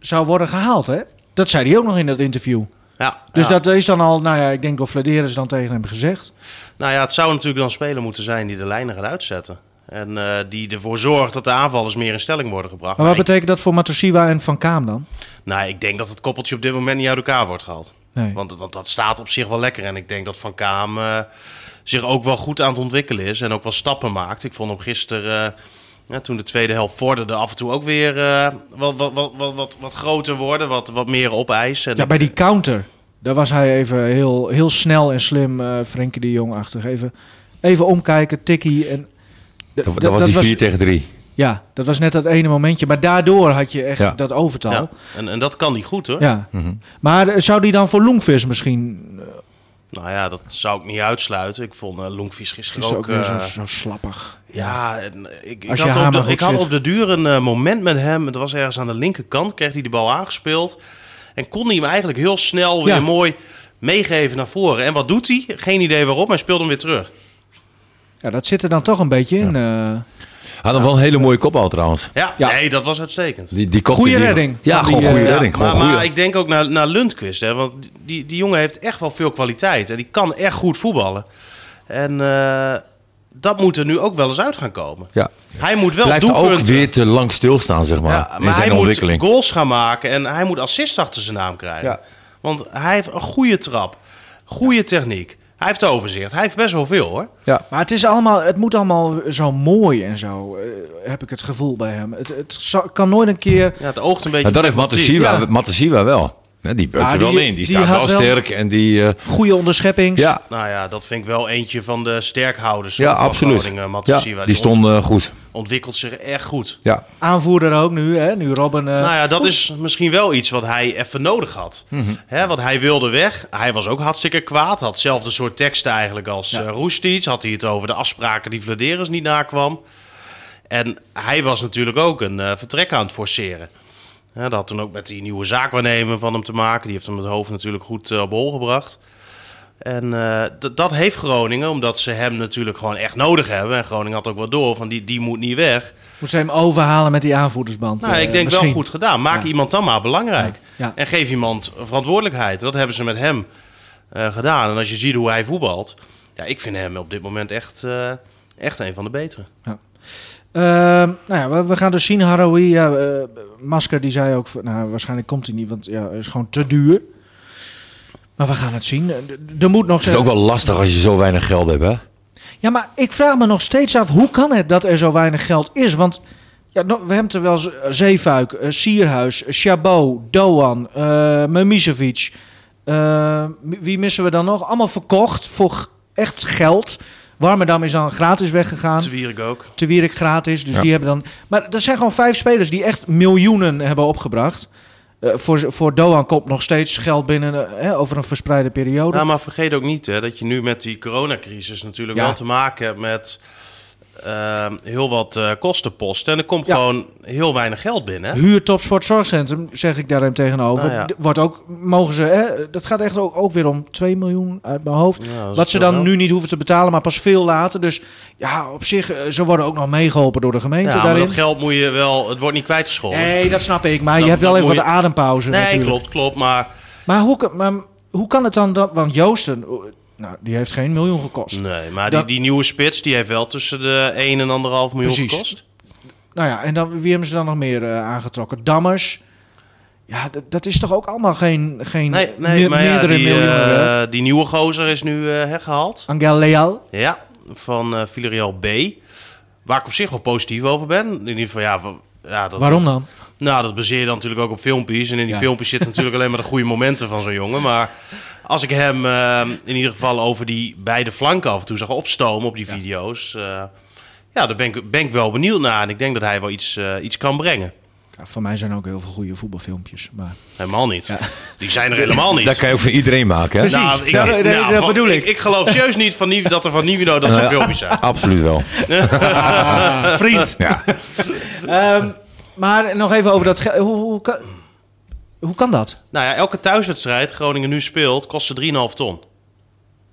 B: zou worden gehaald, hè? Dat zei hij ook nog in dat interview.
D: Ja,
B: Dus
D: ja.
B: dat is dan al, nou ja, ik denk door Vladeres dan tegen hem gezegd.
D: Nou ja, het zou natuurlijk dan een speler moeten zijn die de lijnen gaat uitzetten. En eh, die ervoor zorgt dat de aanvallers meer in stelling worden gebracht. Nou,
B: Maar wat
D: ik,
B: betekent dat voor Matosiwa en Van Kaam dan?
D: nou, ik denk dat het koppeltje op dit moment niet uit elkaar wordt gehaald.
B: Nee.
D: Want, want dat staat op zich wel lekker. En ik denk dat Van Kaam eh, zich ook wel goed aan het ontwikkelen is. En ook wel stappen maakt. Ik vond hem gisteren, eh, ja, toen de tweede helft vorderde, af en toe ook weer eh, wat, wat, wat, wat, wat, wat groter worden. Wat, wat meer opeisen. En
B: Ja, bij die counter, daar was hij even heel, heel snel en slim, eh Frenkie de Jong-achtig. Even, even omkijken, tikkie. En
C: Dat, dat was die 4 tegen 3.
B: Ja, dat was net dat ene momentje. Maar daardoor had je echt
C: Ja. Mhm.
B: dat overtal.
D: ja,
B: Ja.
D: en, en dat kan niet goed hoor.
B: Maar eh, zou die dan voor Lonkvis misschien
D: Nou ja, dat zou ik niet uitsluiten. Ik vond eh Lonkvis gisteren,
B: gisteren ook,
D: ook...
B: weer
D: eh,
B: zo, zo slappig?
D: Ja, en eh, ik, ik,
B: Als je
D: had
B: haar
D: op
B: maar
D: de,
B: goed
D: ik had
B: zit.
D: op de duur een eh, moment met hem. Het was ergens aan de linkerkant, kreeg hij de bal aangespeeld. En kon hij hem eigenlijk heel snel weer
B: Ja.
D: mooi meegeven naar voren. En wat doet hij? Geen idee waarom, hij speelde hem weer terug.
B: Ja, dat zit er dan toch een beetje in. eh.
C: Had hem wel een hele mooie kopbal trouwens.
D: Ja,
B: Ja.
D: nee, dat was uitstekend.
C: Die, die kopte
B: Goeie
C: die-
B: redding.
C: Ja,
B: Van
C: gewoon
B: die,
C: goede
B: eh,
C: redding. Gewoon
D: maar,
C: goeie.
D: maar ik denk ook naar, naar Lundqvist. Hè, want die, die jongen heeft echt wel veel kwaliteit. En die kan echt goed voetballen. En eh, dat moet er nu ook wel eens uit gaan komen.
C: ja.
D: Hij moet wel
C: Blijft ook
D: doelpunten-
C: weer te lang stilstaan, zeg maar.
D: Ja,
C: in
D: maar hij
C: zijn
D: moet
C: ontwikkeling.
D: goals gaan maken en hij moet assist achter zijn naam krijgen.
C: Ja.
D: Want hij heeft een goede trap, goede techniek. Hij heeft overzicht. Hij heeft best wel veel hoor.
C: Ja.
B: Maar het, is allemaal, het moet allemaal zo mooi en zo, eh, heb ik het gevoel bij hem. Het, het zou- kan nooit een keer...
D: Ja, het oogt een beetje.
C: Nou, dat heeft
D: diplomatiek.
C: Matasiwa
B: Ja.
C: Matasiwa wel. Ja, die bukt
B: Ja,
C: er wel
B: die-
C: in.
B: die
C: Die staat
B: had
C: wel
B: wel-
C: sterk. En die, eh,
B: Goede onderschepping.
C: ja,
D: Nou ja, dat vind ik wel eentje van de sterkhouders
C: ja,
D: van
C: absoluut.
D: Groningen.
C: Ja,
D: Matasiwa.
C: die stond eh, goed.
D: ont- ontwikkelt zich echt goed.
C: Ja.
B: Aanvoerder ook nu, hè? Nu Robin... eh,
D: Nou ja, dat is misschien wel iets wat hij even nodig had. Hè, want hij wilde weg. Hij was ook hartstikke kwaad. Had hetzelfde soort teksten eigenlijk als eh Roestic. Had hij het over de afspraken die Vladeres niet nakwam. En hij was natuurlijk ook een eh, vertrek aan het forceren. Ja, dat had toen ook met die nieuwe zaakwaarnemer van hem te maken. Die heeft hem het hoofd natuurlijk goed eh, op hol gebracht. En eh, dat- dat heeft Groningen, omdat ze hem natuurlijk gewoon echt nodig hebben. En Groningen had ook wel door van die, die moet niet weg.
B: Moet ze hem overhalen met die aanvoerdersband.
D: Nou,
B: eh,
D: ik denk wel
B: misschien.
D: goed gedaan. Maak
B: Ja.
D: iemand dan maar belangrijk.
B: Ja. Ja.
D: En geef iemand verantwoordelijkheid. Dat hebben ze met hem eh, gedaan. En als je ziet hoe hij voetbalt. Ja, ik vind hem op dit moment echt, eh, echt een van de betere.
B: Ehm, nou ja, we, we gaan dus zien, Haroui. Ja, eh, Masker die zei ook, van, nou, waarschijnlijk komt hij niet, want ja, het is gewoon te duur. Maar we gaan het zien. Eh, d- d- Er moet nog
C: Het is ook wel lastig als je zo weinig geld hebt, hè?
B: Ja, maar ik vraag me nog steeds af, hoe kan het dat er zo weinig geld is? Want ja, no- we hebben terwijl Z- eh, Zeefuik, eh, Sierhuis, eh, Chabot, Doan, eh Memisevic. eh, m- wie missen we dan nog? Allemaal verkocht voor g- echt geld. Warmerdam is dan gratis weggegaan.
D: Te Wierik ook.
B: te Wierik gratis. Dus
C: Ja.
B: die hebben dan. Maar dat zijn gewoon vijf spelers die echt miljoenen hebben opgebracht. Eh, eh, voor, voor Doan komt nog steeds geld binnen eh, hè, over een verspreide periode.
D: Nou, maar vergeet ook niet hè, dat je nu met die coronacrisis natuurlijk
B: Ja.
D: wel te maken hebt met eh, heel wat eh, kostenposten. En er komt
B: Ja.
D: gewoon heel weinig geld binnen. hè?
B: Huur Topsport Zorgcentrum, zeg ik daarin tegenover.
D: Nou ja.
B: D- Wordt ook, mogen ze, hè, dat gaat echt ook, ook weer om 2 miljoen uit mijn hoofd.
D: Ja, dat is
B: wat ze
D: wel
B: dan
D: wel.
B: nu niet hoeven te betalen, maar pas veel later. Dus ja, op zich, eh, ze worden ook nog meegeholpen door de gemeente
D: Ja, maar
B: daarin.
D: dat geld moet je wel, het wordt niet kwijtgescholden.
B: Nee, dat snap ik. Maar
D: Dat-
B: je hebt wel
D: dat
B: even
D: moet
B: wat
D: je-
B: adempauze.
D: Nee,
B: natuurlijk.
D: klopt, klopt. Maar
B: Maar hoe, kan- maar hoe kan het dan dat... Want Joosten, eh, nou, die heeft geen miljoen gekost.
D: Nee, maar
B: Dat-
D: die, die nieuwe spits die heeft wel tussen de 1 en 1,5 miljoen
B: Precies.
D: gekost.
B: Nou ja, en dan, wie hebben ze dan nog meer eh, aangetrokken? Dammers. Ja, dat- dat is toch ook allemaal geen, geen
D: Nee, nee
B: me-
D: maar ja,
B: meerdere
D: die,
B: miljoenen.
D: eh,
B: werk?
D: die nieuwe gozer is nu eh, hergehaald.
B: Angel Leal.
D: Ja, van eh Villarreal B. Waar ik op zich wel positief over ben. In ieder geval, ja... wa- ja dat,
B: Waarom dan?
D: Nou, dat baseer je dan natuurlijk ook op filmpjes. En in die
B: Ja.
D: filmpjes zitten natuurlijk alleen maar de goede momenten van zo'n jongen. Maar als ik hem eh, in ieder geval over die beide flanken af en toe zag opstomen op die video's... eh, ja, daar ben ik, ben ik wel benieuwd naar. En ik denk dat hij wel iets, eh, iets kan brengen.
B: Ja, voor mij zijn ook heel veel goede voetbalfilmpjes. Maar...
D: Helemaal niet. Die zijn er helemaal niet.
C: Dat kan je ook voor iedereen maken. Hè?
B: Precies.
D: Nou, ik,
B: Ja,
D: nou,
B: dat- dat
D: van-
B: bedoel ik.
D: ik. geloof serieus niet van Nieve- dat er van Nivino dat zijn filmpjes zijn.
C: Absoluut wel.
B: vriend.
C: Ja.
B: Ehm, maar nog even over dat geld. Hoe, hoe, kan- hoe kan dat?
D: Nou ja, elke thuiswedstrijd Groningen nu speelt, kost ze 3,5 ton.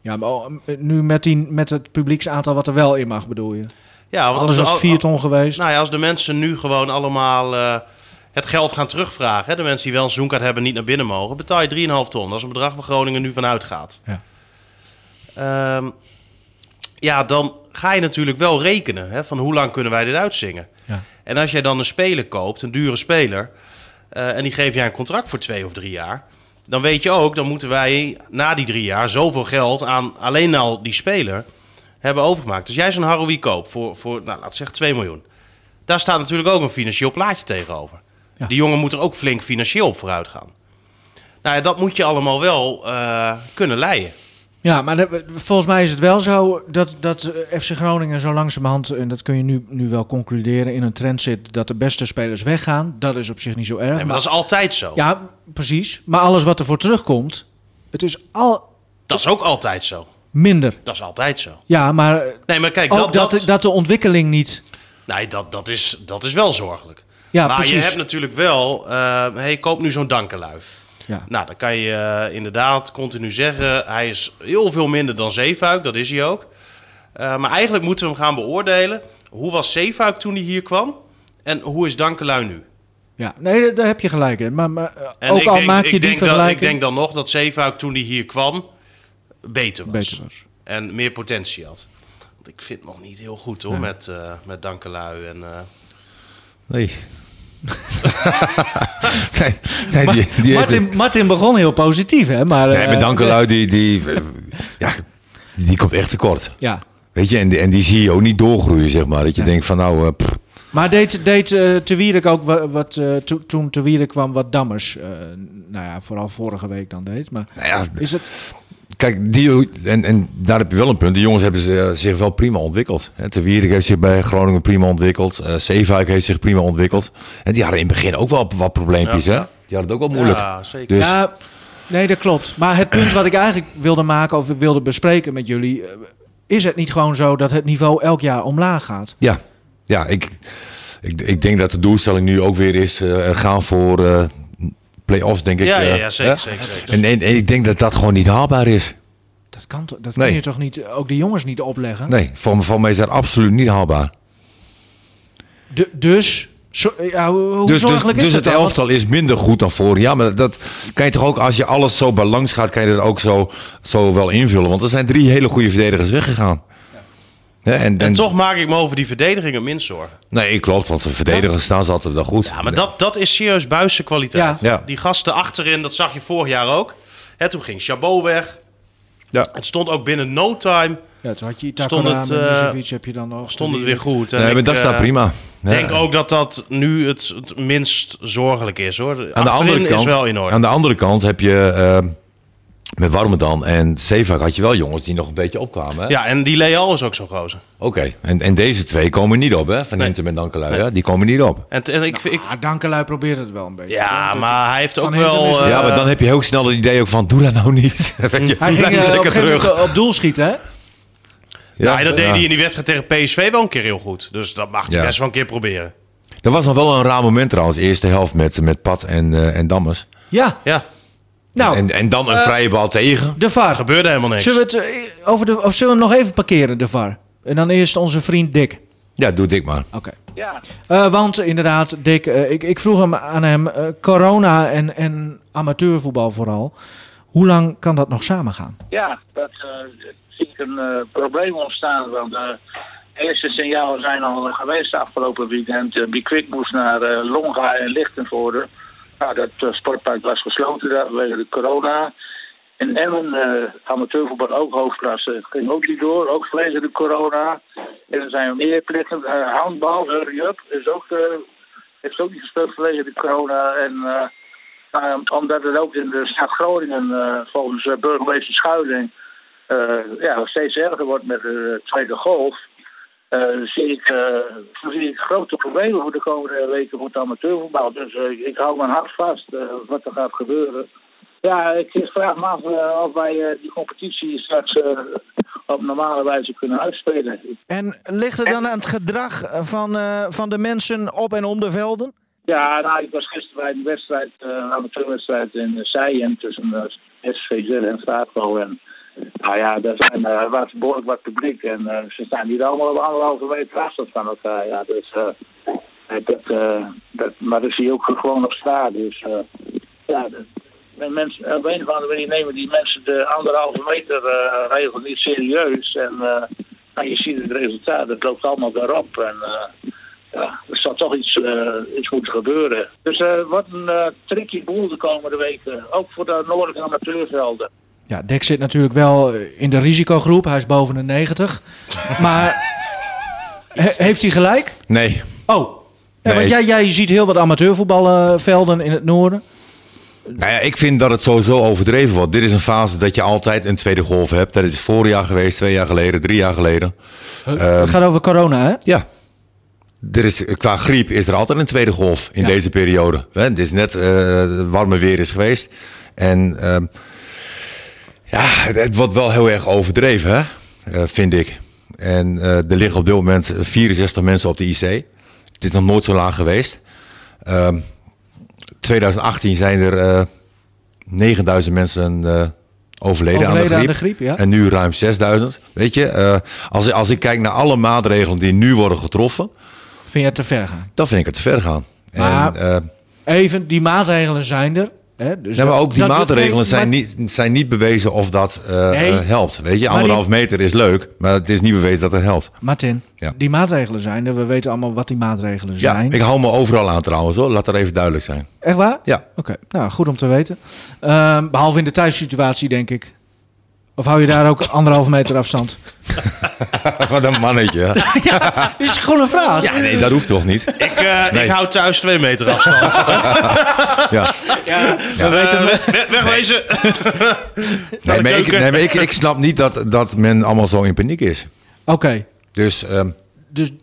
B: Ja, maar oh, nu met, die, met het publieksaantal wat er wel in mag, bedoel je?
D: Ja, want
B: Alles
D: als-
B: was
D: al-
B: 4 ton geweest.
D: oh, Nou ja, als de mensen nu gewoon allemaal eh, het geld gaan terugvragen... Hè, de mensen die wel een seizoenkaart hebben en niet naar binnen mogen... betaal je 3,5 ton. Dat is een bedrag waar Groningen nu van uitgaat.
B: Ja.
D: Ehm, ja, dan ga je natuurlijk wel rekenen hè, van hoe lang kunnen wij dit uitzingen.
B: Ja.
D: En als jij dan een speler koopt, een dure speler, eh, en die geef jij een contract voor twee of drie jaar, dan weet je ook, dan moeten wij na die drie jaar zoveel geld aan alleen al die speler hebben overgemaakt. Dus jij zo'n Haroui koopt voor, voor nou, laat zeggen 2 miljoen. Daar staat natuurlijk ook een financieel plaatje tegenover.
B: Ja.
D: Die jongen moet er ook flink financieel op vooruit gaan. Nou ja, dat moet je allemaal wel eh, kunnen leiden.
B: Ja, maar de- volgens mij is het wel zo dat, dat eh, FC Groningen zo langzamerhand, en dat kun je nu, nu wel concluderen, in een trend zit dat de beste spelers weggaan. Dat is op zich niet zo erg.
D: Nee, maar
B: maar-
D: dat is altijd zo.
B: Ja, precies. Maar alles wat ervoor terugkomt, het is al
D: Dat is ook altijd zo.
B: minder.
D: Dat is altijd zo.
B: Ja, maar eh,
D: Nee, maar kijk, dat,
B: ook dat,
D: dat,
B: dat, de ontwikkeling niet...
D: nee, dat, dat, is, dat is wel zorgelijk.
B: Ja,
D: maar je
B: precies.
D: hebt natuurlijk wel... eh hey, koop nu zo'n dankenluif.
B: Ja.
D: Nou, dan kan je eh, inderdaad continu zeggen... hij is heel veel minder dan Zeefuik, dat is hij ook. Eh, maar eigenlijk moeten we hem gaan beoordelen... hoe was Zeefuik toen hij hier kwam... en hoe is Dankelui nu?
B: ja, nee, daar- daar heb je gelijk in. Maar, maar eh,
D: En
B: ook
D: ik
B: al
D: denk-
B: maak
D: ik
B: je die
D: denk dat-
B: vergelijking...
D: ik denk dan nog dat Zeefuik toen hij hier kwam... beter was.
B: beter was.
D: en meer potentie had. Want ik vind het nog niet heel goed hoor, met, eh met Dankelui. En, eh,
C: Nee. nee, nee, die, die heeft
B: Martin, Martin begon heel positief, hè? Maar,
C: Nee,
B: eh,
C: maar Dankelui, die, die, eh, ja, die komt echt tekort.
B: Ja,
C: Weet je, en die, en die zie je ook niet doorgroeien, zeg maar. Dat je denkt van, nou, eh, pff,
B: Maar deed, deed eh, Te Wierik ook wa- wat, eh, to- toen Te Wierik kwam, wat Dammers, eh, nou ja, vooral vorige week dan deed. Maar
C: nou ja,
B: is het,
C: Kijk, die, en, en daar heb je wel een punt. Die jongens hebben ze, eh, zich wel prima ontwikkeld. Hè, Te Wierik heeft zich bij Groningen prima ontwikkeld. Eh Zeefuik heeft zich prima ontwikkeld. En die hadden in het begin ook wel wat probleempjes. Hè? Die hadden het ook wel moeilijk.
D: Ja, zeker.
C: Dus
B: ja, nee, dat klopt. Maar het punt wat ik eigenlijk wilde maken of wilde bespreken met jullie, eh, is het niet gewoon zo dat het niveau elk jaar omlaag gaat?
C: ja, ja ik, ik, ik denk dat de doelstelling nu ook weer is eh, gaan voor eh, play-offs, denk ik.
D: ja, ja,
C: eh,
D: ja, zeker,
C: hè?
D: zeker, zeker.
C: En, en, en ik denk dat dat gewoon niet haalbaar is.
B: Dat kan, toch- dat
C: Nee.
B: kun je toch niet, eh, ook de jongens niet opleggen?
C: Nee, voor, voor mij is dat absoluut niet haalbaar.
B: Du- dus, zo- ja, hoe hoe
C: Dus, dus,
B: zorgelijk
C: dus
B: is
C: het
B: dat dan?
C: elftal is minder goed dan vorig jaar. Maar dat kan je toch ook, als je alles zo balans gaat, kan je dat ook zo, zo wel invullen. Want er zijn drie hele goede verdedigers weggegaan. Hè, en,
D: En
C: en-
D: toch maak ik me over die verdediging het minst zorgen.
C: Nee, klopt, want de verdedigers staan ze altijd wel goed.
D: Ja, maar dat, dat is serieus buisse kwaliteit.
C: Ja. Ja.
D: Die gasten achterin, dat zag je vorig jaar ook. Hè, toen ging Chabot weg.
C: Ja.
D: Het stond ook binnen no time
B: Ja, toen had je
D: Stond
B: Itakura,
D: het, eh,
B: Milosevic heb je dan nog.
D: stond het weer goed. En
C: Nee, maar
D: ik,
C: dat
D: eh,
C: staat prima.
D: denk
C: Ja.
D: ook dat dat nu het, het minst zorgelijk is hoor.
C: aan de andere kant,
D: is wel in orde.
C: Aan de andere kant heb je eh, Met Warmerdam en Zeevaak had je wel jongens die nog een beetje opkwamen. hè?
D: Ja, en die Leal is ook zo'n gozer.
C: Oké, en, en deze twee komen niet op, hè? Van
D: Nee.
C: Hintem en Dankelui,
D: Nee.
C: hè? Die komen niet op.
D: En, t- en ik, vind- ik,
B: Ah, Dankelui probeert het wel een beetje.
D: ja, maar hij heeft
B: Van
D: ook
B: Hintem is-
D: wel... eh,
C: ja, maar dan heb je heel snel het idee ook van, doe dat nou niet. Weet je,
B: Hij ging
C: blijf
B: eh, op, een gegeven
C: lekker terug.
B: moment, eh, op doel schieten, hè?
D: nou, en dat deed
C: ja.
D: hij in die wedstrijd tegen PSV wel een keer heel goed. Dus dat mag hij
C: Ja.
D: best wel een keer proberen.
C: Dat was nog wel een raar moment trouwens, de eerste helft met, met Pat en, eh, en Dammers.
B: Ja,
D: Ja,
B: nou,
C: en, en dan een
D: eh,
C: vrije bal tegen.
B: de VAR.
D: gebeurde helemaal niks.
B: Zullen we, het, eh, over de, of zullen we hem nog even parkeren, de VAR? En dan eerst onze vriend Dick.
C: Ja, doe dik maar.
B: Oké.
E: Ja,
B: Eh, want inderdaad, Dick, eh, ik, ik vroeg hem aan hem, eh, corona en, en amateurvoetbal vooral. Hoe lang kan dat nog samengaan?
E: ja dat eh, zie ik een eh, probleem ontstaan. Want eh, de eerste signalen zijn al eh, geweest afgelopen weekend. Eh, Die Kwik moest naar eh, Longa en Lichtenvoorde. Nou, dat eh, sportpark was gesloten daar vanwege de corona. In Emmen, eh amateurvoetbal ook hoofdklasse, ging ook niet door, ook vanwege de corona. En er zijn meer plekken. Eh, handbal, hurry up, is ook, eh, heeft ook niet gespeeld vanwege de corona. En... eh, Nou, om- omdat het ook in de stad Groningen eh, volgens eh, burgemeester Schuiling eh, ja, steeds erger wordt met de tweede golf. eh, zie, ik, eh, zie ik grote problemen voor de komende weken voor het amateurvoetbal. Dus eh, ik hou mijn hart vast eh, wat er gaat gebeuren. Ja, ik vraag me af eh, of wij eh, die competitie straks eh, op normale wijze kunnen uitspelen.
F: En ligt het dan aan het gedrag eh, van, eh, van de mensen op en om de velden?
E: Ja, nou, ik was gisteren bij een wedstrijd, eh, een amateurwedstrijd in uh, tussen eh, SVZ en Straatbouw. En nou ja, daar zijn, eh, was behoorlijk wat publiek en eh, ze staan hier allemaal op anderhalve meter afstand van elkaar. Ja, dus, eh, eh, dat, eh, dat, maar dat zie je ook gewoon op straat. Dus eh, ja, dat- men- mensen, op een of andere manier nemen die mensen de anderhalve meter eh, regel niet serieus. En eh, nou, je ziet het resultaat, het loopt allemaal daarop. En, eh, ja, er zal toch iets, eh, iets moeten gebeuren. Dus eh, wat een eh, tricky boel de komende weken. Ook voor de noordelijke amateurvelden.
B: Ja, Dick zit natuurlijk wel eh, in de risicogroep. Hij is boven de 90. Maar he- heeft hij gelijk?
C: Nee.
B: Oh. Ja,
C: Nee.
B: want jij, jij ziet heel wat amateurvoetbalvelden in het noorden.
C: Nou ja, ik vind dat het sowieso overdreven wordt. Dit is een fase dat je altijd een tweede golf hebt. Dat is vorig jaar geweest, twee jaar geleden, drie jaar geleden. Ehm,
B: het gaat over corona, hè?
C: Ja. Er is, qua griep is er altijd een tweede golf in
B: Ja.
C: deze periode. Hè, Het is net eh, het warme weer is geweest. En ehm, ja, het, het wordt wel heel erg overdreven, hè? Eh, vind ik. En eh, er liggen op dit moment 64 mensen op de IC. Het is nog nooit zo laag geweest. Ehm 2018 zijn er eh 9000 mensen eh, overleden, aan de
B: Overleden
C: griep.
B: aan de griep, ja.
C: En nu ruim 6000. Weet je, eh, als, als ik kijk naar alle maatregelen die nu worden getroffen,
B: Vind je het te ver gaan?
C: dan vind ik het te ver gaan.
B: Maar-
C: en, eh,
B: Even, die maatregelen zijn er. Hè? Dus
C: nee, maar
B: dat-
C: ook die
B: dat-
C: maatregelen
B: nee,
C: zijn,
B: maar-
C: niet, zijn niet bewezen of dat eh,
B: Nee.
C: eh, helpt. Weet je, anderhalf meter is leuk, maar het is niet bewezen dat het helpt.
B: Martin,
C: Ja.
B: die maatregelen zijn er. We weten allemaal wat die maatregelen
C: Ja,
B: zijn.
C: ik hou me overal aan trouwens hoor. Laat dat even duidelijk zijn.
B: Echt waar?
C: Ja.
B: Oké, nou goed om te weten. Ehm, behalve in de thuissituatie, denk ik. Of hou je daar ook anderhalve meter afstand?
C: Wat een mannetje. hè?
B: Is gewoon een vraag.
C: Ja, nee, dat hoeft toch niet?
D: Ik, eh,
C: Nee.
D: ik hou thuis twee meter afstand.
C: Ja.
D: Eh, we- wegwezen.
C: Nee, maar, ik,
D: keuken.
C: nee, maar ik, ik snap niet dat, dat men allemaal zo in paniek is.
B: Oké,
C: Dus ehm,
B: dus
D: Nou,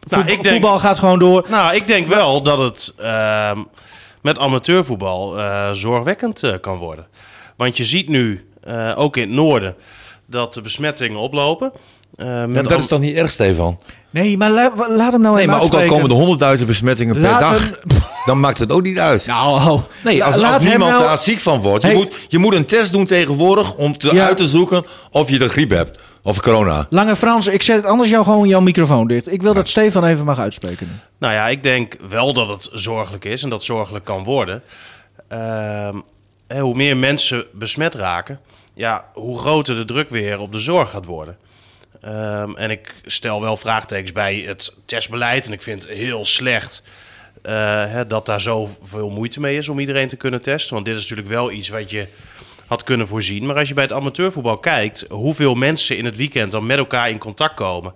B: voetbal-
D: ik denk-
B: voetbal gaat gewoon door.
D: Nou, ik denk wel dat het ehm, met amateurvoetbal eh, zorgwekkend eh, kan worden. Want je ziet nu, eh, ook in het noorden, dat de besmettingen oplopen. Eh, met
C: dat is
D: am-
C: toch niet erg, Stefan?
B: Nee, maar la- wa- laat hem nou
C: Nee,
B: even
C: maar ook al
B: uitspreken.
C: komen er honderdduizend besmettingen per
B: Laat
C: dag,
B: hem-
C: dan maakt het ook niet uit.
B: Nou,
C: oh. Nee,
B: la-
C: als,
B: laat
C: als
B: hem
C: niemand
B: nou-
C: daar ziek van wordt. Je,
B: Hey.
C: moet, je moet een test doen tegenwoordig om te,
B: Ja.
C: uit te zoeken of je de griep hebt. Of corona.
B: Lange Frans, ik zet anders jou gewoon jouw microfoon dicht. Ik wil dat Stefan even mag uitspreken.
D: Nou ja, ik denk wel dat het zorgelijk is en dat het zorgelijk kan worden. Ehm, hè, hoe meer mensen besmet raken, ja, hoe groter de druk weer op de zorg gaat worden. Ehm, en ik stel wel vraagtekens bij het testbeleid. En ik vind het heel slecht eh, hè, dat daar zoveel moeite mee is om iedereen te kunnen testen. Want dit is natuurlijk wel iets wat je had kunnen voorzien. Maar als je bij het amateurvoetbal kijkt, hoeveel mensen in het weekend dan met elkaar in contact komen.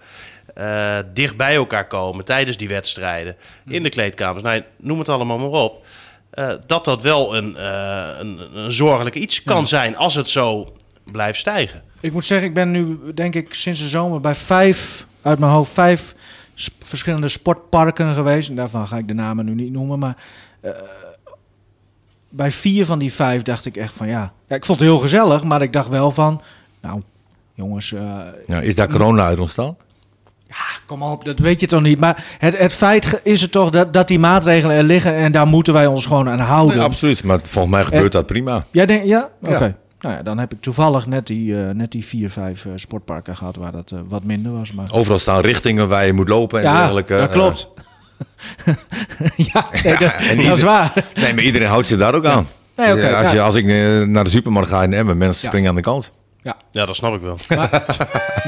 D: eh, dicht bij elkaar komen tijdens die wedstrijden, in de kleedkamers. Nou, noem het allemaal maar op. eh, dat dat wel een, eh, een, een zorgelijk iets kan zijn als het zo blijft stijgen.
B: Ik moet zeggen, ik ben nu denk ik sinds de zomer bij vijf, uit mijn hoofd, vijf sp- verschillende sportparken geweest. En daarvan ga ik de namen nu niet noemen. Maar eh, bij vier van die vijf dacht ik echt van ja. ja. Ik vond het heel gezellig, maar ik dacht wel van. Nou, jongens, eh,
C: Ja, is daar corona uit ontstaan?
B: Ah, Kom op, dat weet je toch niet. Maar het, het feit ge- is het toch dat, dat die maatregelen er liggen en daar moeten wij ons gewoon aan houden.
C: Nee, absoluut. Maar volgens mij gebeurt
B: En-
C: dat prima.
B: Jij denkt, ja? Oké.
C: Ja.
B: Nou ja, dan heb ik toevallig net die, eh, net die vier, vijf eh, sportparken gehad waar dat eh, wat minder was. Maar...
C: Overal staan richtingen waar je moet lopen en
B: ja,
C: dergelijke.
B: dat
C: Eh,
B: klopt. ja, nee, dat,
C: en
B: dat is
C: ieder-
B: waar.
C: nee, maar iedereen houdt zich daar ook aan.
B: Nee, oké,
C: als,
B: ja.
C: je, als ik eh, naar de supermarkt ga in Emmen, mensen springen aan de kant.
D: Ja, dat snap ik wel.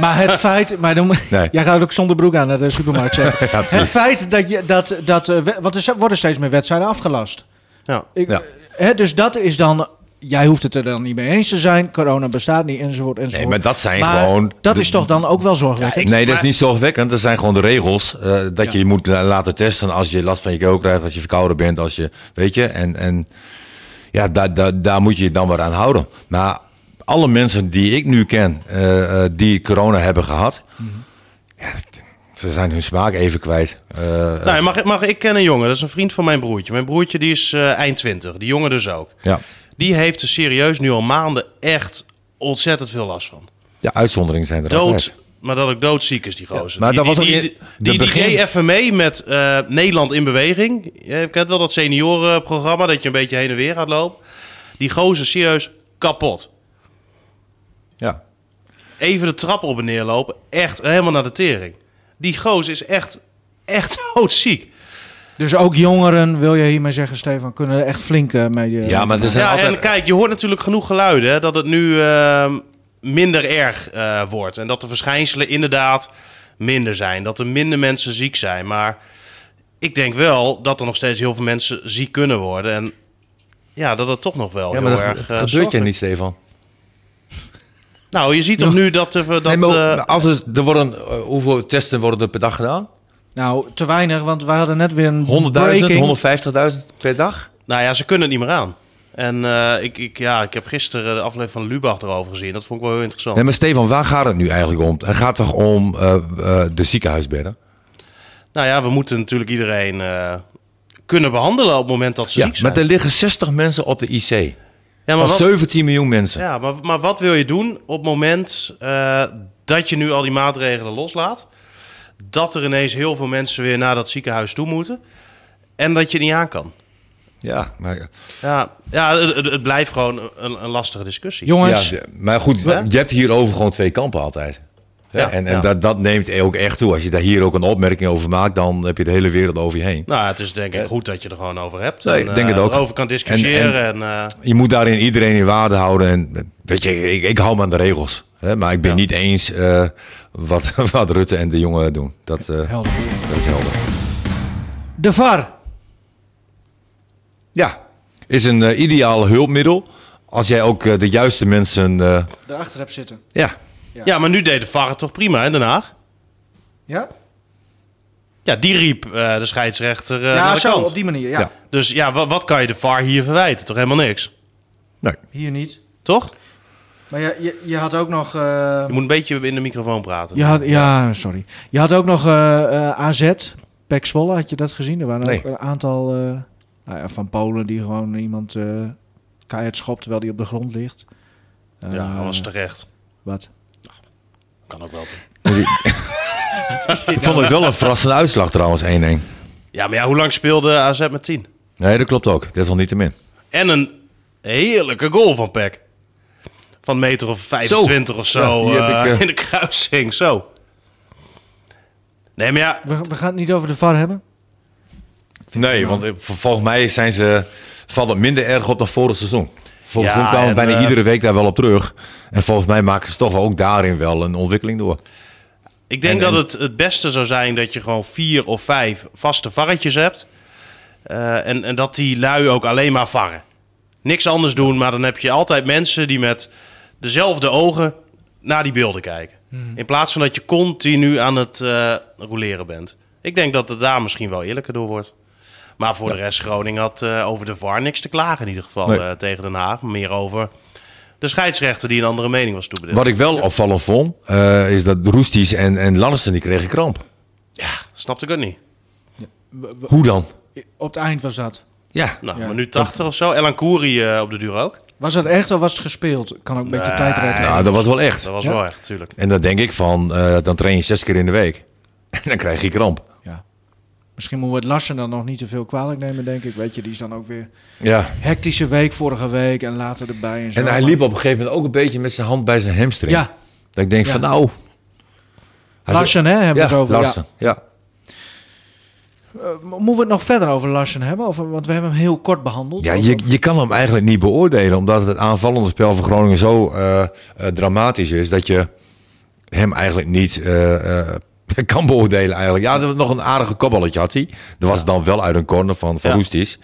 B: Maar het feit... Maar dan,
C: Nee.
B: Jij gaat ook zonder broek aan naar de supermarkt. zeg.
C: Ja, precies.
B: het feit dat... Je, dat, dat eh, we- want er z- worden steeds meer wedstrijden afgelast.
D: Ja.
B: Ik-
C: Ja.
B: hè, dus dat is dan. Jij hoeft het er dan niet mee eens te zijn. Corona bestaat niet, enzovoort, enzovoort.
C: Nee, maar dat zijn
B: Maar
C: gewoon
B: Dat
C: de-
B: is toch dan ook wel zorgwekkend?
C: nee, dat is niet zorgwekkend. Dat zijn gewoon de regels. eh, dat je je moet la- laten testen als je last van je keel krijgt, als je verkouden bent, als je. Weet je, en, en ja, daar, daar, daar moet je je dan maar aan houden. Maar alle mensen die ik nu ken, eh, eh, die corona hebben gehad,
D: Mhm.
C: ja, t- ze zijn hun smaak even kwijt. Eh,
D: Nou, mag, mag, ik ken een jongen, dat is een vriend van mijn broertje. Mijn broertje die is eh, eind 20, die jongen dus ook.
C: ja.
D: Die heeft er serieus nu al maanden echt ontzettend veel last van.
C: ja, uitzonderingen zijn er
D: Dood,
C: altijd.
D: maar dat ook doodziek is die gozer.
C: maar
D: die,
C: dat was
D: die,
C: ook
D: die,
C: in- de
D: die, die
C: begin-
D: deed even mee met eh, Nederland in beweging. Je kent wel dat seniorenprogramma dat je een beetje heen en weer gaat lopen. Die gozer is serieus kapot.
C: Ja.
D: Even de trap op en neer lopen, echt helemaal naar de tering. Die gozer is echt, echt doodziek.
B: Dus ook jongeren, wil je hiermee zeggen, Stefan, kunnen er echt flink eh, mee. eh,
C: ja, maar er zijn
D: Ja, en
C: altijd.
D: kijk, je hoort natuurlijk genoeg geluiden hè, dat het nu ehm, minder erg eh, wordt. En dat de verschijnselen inderdaad minder zijn. Dat er minder mensen ziek zijn. Maar ik denk wel dat er nog steeds heel veel mensen ziek kunnen worden. En ja, dat het toch nog wel
C: Ja,
D: heel
C: maar dat
D: erg... eh,
C: gebeurt je
D: zorgelijk-
C: niet, Stefan.
D: Nou, je ziet toch nu dat... er dat
C: nee, maar nou-
D: eh,
C: als er, er worden, eh, hoeveel testen worden er per dag gedaan?
B: Nou, te weinig, want wij hadden net weer een.
C: 100.000,
B: 100.000,
C: 150.000 per dag?
D: nou ja, ze kunnen het niet meer aan. En eh, ik, ik, ja, ik heb gisteren de aflevering van Lubach erover gezien. Dat vond ik wel heel interessant.
C: Nee, maar Stefan, waar gaat het nu eigenlijk om? Het gaat toch om eh, eh, de ziekenhuisbedden?
D: Nou ja, we moeten natuurlijk iedereen eh, kunnen behandelen op het moment dat ze
C: Ja,
D: ziek zijn.
C: maar er liggen 60 mensen op de IC.
D: ja, maar
C: Van
D: wat-
C: 17 miljoen mensen.
D: Ja, maar, maar wat wil je doen op het moment eh, dat je nu al die maatregelen loslaat? Dat er ineens heel veel mensen weer naar dat ziekenhuis toe moeten. En dat je het niet aan kan.
C: Ja, maar,
D: Ja, ja het, het- het blijft gewoon een, een lastige discussie.
B: Jongens,
C: ja, maar goed, je hebt hierover gewoon twee kampen altijd. Hè?
D: Ja,
C: en en
D: ja.
C: Dat, dat neemt ook echt toe. Als je daar hier ook een opmerking over maakt, dan heb je de hele wereld over je heen.
D: Nou, het is denk ik goed dat je er gewoon over hebt.
C: Nee, ik denk het
D: eh,
C: ook.
D: Erover kan discussiëren. En, eh,
C: Je moet daarin iedereen in waarde houden. En, eh, weet je, ik, ik hou me aan de regels. Hè? Maar ik ben niet eens eh, wat, wat Rutte en de jongen doen. Dat, eh,
B: Helder.
C: dat is helder.
B: de VAR.
C: Ja, is een eh, ideaal ideale hulpmiddel. Als jij ook eh, de juiste mensen. eh,
B: Daarachter heb zitten.
C: ja,
D: ja. maar nu deed de VAR het toch prima in Den Haag?
B: Ja?
D: Ja, die riep eh, de scheidsrechter eh, naar
B: ja,
D: de
B: zo,
D: kant.
B: op die manier. Ja.
C: Ja.
D: Dus ja, wa- wat kan je de VAR hier verwijten? Toch helemaal niks?
C: nee.
B: Hier niet.
D: Toch?
B: Maar je, je, je had ook nog. eh,
D: Je moet een beetje in de microfoon praten.
B: je had, ja, sorry. Je had ook nog eh, eh, AZ, Pek Zwolle, had je dat gezien? Er waren
C: Nee.
B: ook een aantal eh, nou ja, van Polen die gewoon iemand eh keihard schopt terwijl die op de grond ligt. Eh,
D: Ja, dat was terecht.
B: Wat?
D: Kan ook wel. toch?
C: Ik vond het wel een verrassende uitslag trouwens, 1-1.
D: Ja, maar ja, hoe lang speelde AZ met 10?
C: Nee, dat klopt ook. Dat is al niet te min.
D: En een heerlijke goal van Peck. Van een meter of 25 of
C: Ja,
D: zo
C: die heb ik,
D: eh,
C: eh.
D: in de kruising. Zo. Nee, maar ja,
B: We, we gaan het niet over de VAR hebben.
C: Nee, want eh, vol- volgens mij zijn ze, valt het minder erg op dan vorig seizoen. Volgens
D: Ja,
C: mij kwamen we
D: en,
C: bijna
D: eh,
C: iedere week daar wel op terug. En volgens mij maken ze toch wel ook daarin wel een ontwikkeling door.
D: ik denk
C: En-
D: dat
C: en-
D: het het beste zou zijn dat je gewoon vier of vijf vaste varretjes hebt. Eh, en, en dat die lui ook alleen maar varren. Niks anders doen, maar dan heb je altijd mensen die met dezelfde ogen naar die beelden kijken.
C: Mhm.
D: In plaats van dat je continu aan het eh roleren bent. Ik denk dat het daar misschien wel eerlijker door wordt. Maar voor de rest, Groningen had eh, over de VAR niks te klagen in ieder geval
C: Nee.
D: eh, tegen Den Haag. Meer over de scheidsrechter die een andere mening was toebedeeld.
C: Wat ik wel opvallend vond, eh, is dat Roesties en, en Lannister die kregen kramp.
D: Snapte ik ook niet.
C: Hoe dan?
B: Op het eind was dat.
C: Ja,
D: Nou,
B: Ja.
D: minuut 80 of zo. Elan Koeri eh, op de duur ook.
B: Was dat echt of was het gespeeld? Kan ook een beetje tijd redden.
C: nou, dat was wel echt.
D: Dat was
B: Ja.
D: wel echt, tuurlijk.
C: En dan denk ik van, eh, dan train je zes keer in de week. En dan krijg je kramp.
B: Ja. Misschien moeten we het Larsen dan nog niet te veel kwalijk nemen, denk ik. Weet je, die is dan ook weer
C: Ja.
B: hectische week vorige week en later erbij en zo.
C: En hij liep op een gegeven moment ook een beetje met zijn hand bij zijn hamstring.
B: Ja,
C: Dat ik denk
B: Ja.
C: van, nou... Hij
B: Larsen hè, hebben we
C: Ja,
B: het over.
C: Larsen. Ja.
B: Ja. Eh, moeten we het nog verder over Larsen hebben? Of, want we hebben hem heel kort behandeld.
C: Ja,
B: Of-
C: je, je kan hem eigenlijk niet beoordelen, omdat het aanvallende spel van Groningen zo eh, eh, dramatisch is dat je hem eigenlijk niet eh, eh, kan beoordelen. Eigenlijk. Ja, er was nog een aardige kopballetje had hij. Dat was dan wel uit een corner van, van
D: Ja.
C: Roestis.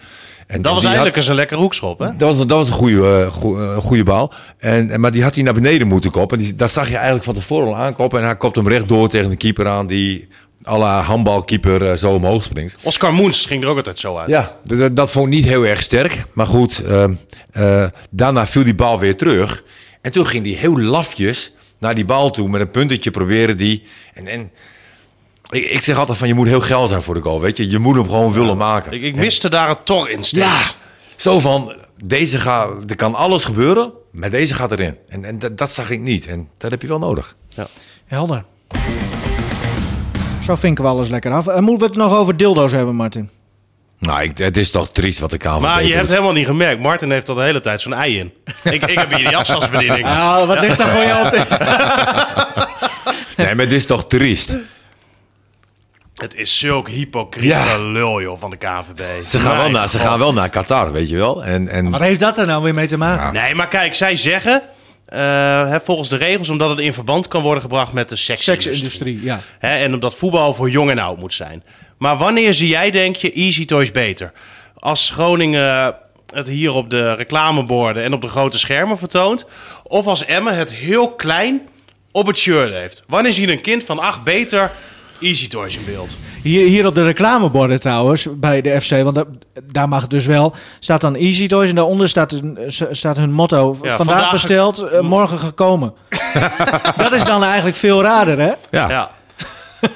C: En
D: Dat
C: en
D: was
C: die
D: eigenlijk
C: had-
D: eens een lekkere hoekschop, hè?
C: dat was, een- dat was een goede, eh, goe- eh, goede bal. En, en- maar die had hij naar beneden moeten koppen. En die, dat zag je eigenlijk van tevoren al aankoppen. En hij kopt hem rechtdoor tegen de keeper aan die à la handbalkeeper eh, zo omhoog springt.
D: Oscar Moens ging er ook altijd zo uit.
C: Ja, d- d- dat vond ik niet heel erg sterk. Maar goed, ehm, eh, daarna viel die bal weer terug. En toen ging hij heel lafjes naar die bal toe met een puntetje proberen die. En, en ik, ik zeg altijd van je moet heel geil zijn voor de goal, weet je. Je moet hem gewoon willen maken.
D: Ik, ik miste daar een tor instinct.
C: ja, zo van deze gaat, er kan alles gebeuren, maar deze gaat erin. En, en dat, dat zag ik niet. En dat heb je wel nodig.
B: Helder. Zo vinken we alles lekker af. En moeten we het nog over dildo's hebben, Martin?
C: Nou, ik, het is toch triest wat de KNVB
D: Maar je
C: doet.
D: hebt helemaal niet gemerkt. Martin heeft al de hele tijd zo'n ei in. Ik, ik heb hier die afstandsbediening.
B: Ah, wat ligt daar voor jou op de...
C: Nee, maar het is toch triest.
D: Het is zulk hypocriet
C: Ja.
D: gelul, joh, van de KVB.
C: Ze gaan, wel naar, ze gaan wel naar Qatar, weet je wel. En, en
B: Wat heeft dat er nou weer mee te maken?
D: Nee, maar kijk, zij zeggen... eh, hè, volgens de regels, omdat het in verband kan worden gebracht met de seksindustrie.
B: Seksindustrie, ja.
D: Hè, en omdat voetbal voor jong en oud moet zijn. Maar wanneer zie jij, denk je, Easy Toys beter? Als Groningen het hier op de reclameborden en op de grote schermen vertoont? Of als Emmen het heel klein op het shirt heeft? Wanneer zie je een kind van acht beter Easy Toys in beeld?
B: Hier, hier op de reclameborden trouwens, bij de FC, want da- daar mag het dus wel, staat dan Easy Toys en daaronder staat, hun- s- staat hun motto, vandaag,
D: vandaag ge-
B: besteld, eh, morgen gekomen. dat is dan eigenlijk veel raarder, hè?
C: ja.
D: Ja.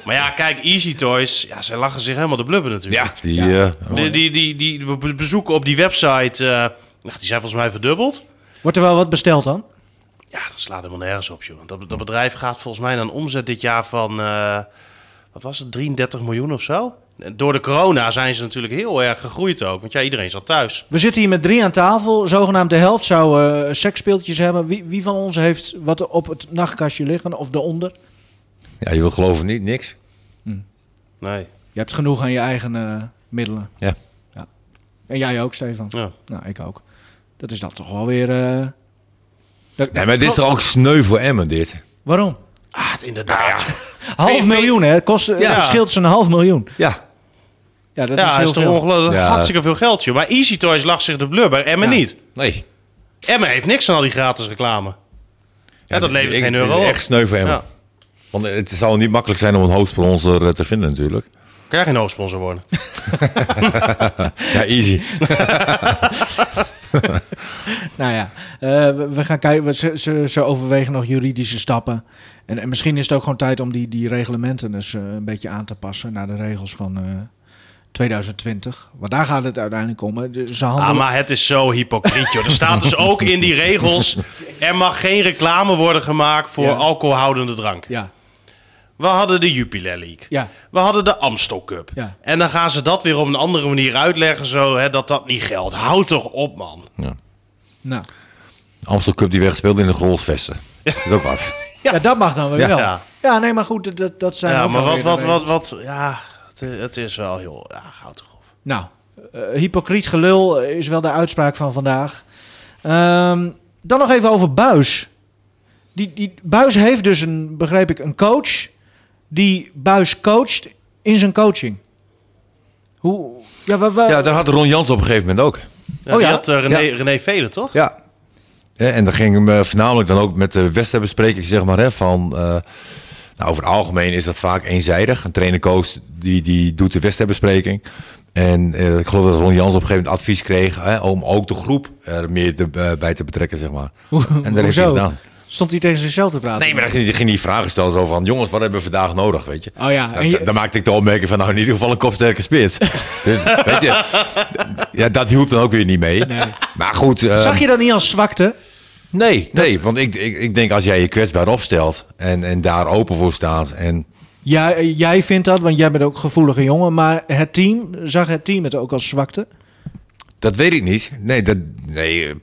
D: maar ja, kijk, Easy Toys, ja, zij lachen zich helemaal de blubber natuurlijk.
C: Ja, die, eh,
D: Die, die, die, die be- bezoeken op die website, eh, nou, die zijn volgens mij verdubbeld.
B: Wordt er wel wat besteld dan?
D: Ja, dat slaat helemaal nergens op, joh. Dat, dat bedrijf gaat volgens mij naar een omzet dit jaar van, eh, wat was het, 33 miljoen of zo? En Door de corona zijn ze natuurlijk heel erg gegroeid ook. Want ja, iedereen zat thuis.
B: We zitten hier met drie aan tafel, zogenaamd de helft zou eh seksspeeltjes hebben. Wie, wie van ons heeft wat op het nachtkastje liggen of daaronder?
C: ja, je wil geloven niet, niks.
D: Nee.
B: Je hebt genoeg aan je eigen eh, middelen.
C: Ja.
B: ja. En jij ook, Stefan?
D: Ja.
B: Nou, ik ook. Dat is dan toch wel weer... eh, dat-
C: Nee, maar dit is toch ook sneu voor Emmen, dit?
B: Waarom?
D: Ah, het- inderdaad.
B: Half
D: VV
B: miljoen, hè? Het Kost, eh,
C: Ja.
B: het scheelt ze een half miljoen.
C: Ja.
B: Ja, dat
D: Ja,
B: is
D: dat
B: heel
D: is toch
B: veel.
D: ongelooflijk.
C: Ja.
D: Hartstikke veel geld, joh. Maar Easy Toys lacht zich de blubber, Emmen
B: Ja.
D: niet.
C: Nee.
D: Emmen heeft niks aan al die gratis reclame. Ja, dat levert
C: ik-
D: geen
C: Het
D: euro
C: is
D: op.
C: echt sneu voor Emmen.
D: Ja.
C: Want het zal niet makkelijk zijn om een hoofdsponsor eh, te vinden natuurlijk.
D: Kan jij geen hoofdsponsor worden?
C: Ja, easy.
B: Nou ja, eh, we, we gaan kijken. we- Ze, ze, ze overwegen nog juridische stappen. En, en misschien is het ook gewoon tijd om die, die reglementen eens eh, een beetje aan te passen naar de regels van eh, 2020. Want daar gaat het uiteindelijk om. hè. De- Ze handelen...
D: Ah, maar het is zo hypocriet, joh. Er staat dus ook in die regels... er mag geen reclame worden gemaakt voor
B: Ja.
D: alcoholhoudende drank.
B: Ja,
D: We hadden de Jupiler League.
B: ja.
D: We hadden de Amstel Cup.
B: Ja.
D: En dan gaan ze dat weer op een andere manier uitleggen... Zo, hè, dat dat niet geldt. Houd toch op, man.
B: Nou,
C: Amstel Cup die werd gespeeld in de Grolsvesten. Dat is ook wat.
B: ja. dat mag dan weer
C: Ja.
B: wel. Ja.
D: Ja.
B: nee, maar goed, dat, dat zijn
D: Ja,
B: ook
D: maar
B: wel
D: wat,
B: weer
D: wat,
B: de
D: wat, wat... Ja, het, het is wel heel... Ja, houd toch op.
B: Nou, eh, hypocriet gelul is wel de uitspraak van vandaag. Ehm, dan nog even over Buis. Die, die, Buis heeft dus, een, begreep ik, een coach die Buis coacht in zijn coaching. Hoe? Ja, wa- wa-
C: Ja, daar had Ron Jans op een gegeven moment ook.
D: Ja,
B: Oh
D: die
B: ja?
D: had eh, René, René Velen, toch?
C: Ja. en dan ging hem eh, voornamelijk dan ook met de wedstrijdbespreking, zeg maar, hè, van... eh, nou, over het algemeen is dat vaak eenzijdig. Een trainer-coach die, die doet de wedstrijdbespreking. En eh, ik geloof dat Ron Jans op een gegeven moment advies kreeg hè, om ook de groep er meer te- eh, bij te betrekken, zeg maar. en dat heeft hij
B: Hoezo?
C: gedaan.
B: Stond hij tegen zichzelf te praten?
C: Nee, maar er ging, er ging die vraag gesteld zo van... jongens, wat hebben we vandaag nodig, weet je?
B: Oh ja,
C: Dan,
B: en je-
C: dan maakte ik de opmerking van... nou, in ieder geval een kopsterke spits. dus, weet je... Ja, dat hielp dan ook weer niet mee. Maar goed... eh,
B: Zag je dat niet als zwakte?
C: Nee, nee want ik, ik, ik denk als jij je kwetsbaar opstelt... en, en daar open voor staat... en
B: Ja, eh, jij vindt dat, want jij bent ook een gevoelige jongen. Maar het team, zag het team het ook als zwakte?
C: dat weet ik niet. Nee, dat, nee eh,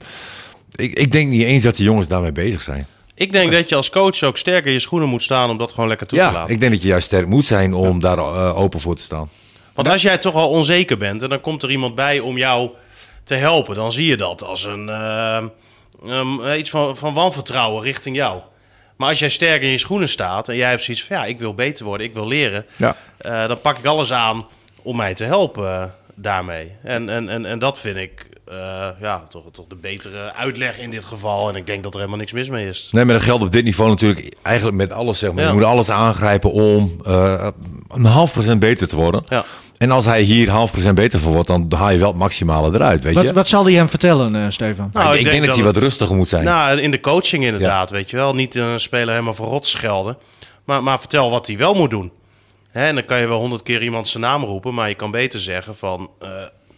C: ik, ik denk niet eens dat de jongens daarmee bezig zijn.
D: Ik denk dat je als coach ook sterker in je schoenen moet staan om dat gewoon lekker toe te
C: Ja,
D: laten.
C: ik denk dat je juist sterk moet zijn om daar eh, open voor te staan.
D: Want als jij toch al onzeker bent en dan komt er iemand bij om jou te helpen, dan zie je dat als een ehm, ehm, iets van, van wanvertrouwen richting jou. Maar als jij sterk in je schoenen staat en jij hebt zoiets van ja, ik wil beter worden, ik wil leren,
C: Ja.
D: eh, dan pak ik alles aan om mij te helpen eh, daarmee. En, en, en, en dat vind ik eh, ja, toch, toch de betere uitleg in dit geval. En ik denk dat er helemaal niks mis mee is.
C: Nee, maar dat geldt op dit niveau natuurlijk eigenlijk met alles. Zeg maar.
D: Ja.
C: Je moet alles aangrijpen om eh, een half procent beter te worden.
D: Ja.
C: En als hij hier half procent beter voor wordt, dan haal je wel het maximale eruit, weet
B: Wat,
C: je?
B: wat zal hij hem vertellen, eh, Stefan?
D: Nou,
C: ik, denk dat, hij wat rustiger moet zijn.
D: Nou, in de coaching inderdaad, weet je wel. Niet een speler helemaal voor rot schelden. Maar, maar vertel wat hij wel moet doen. Hè, en dan kan je wel honderd keer iemand zijn naam roepen... maar je kan beter zeggen van... eh,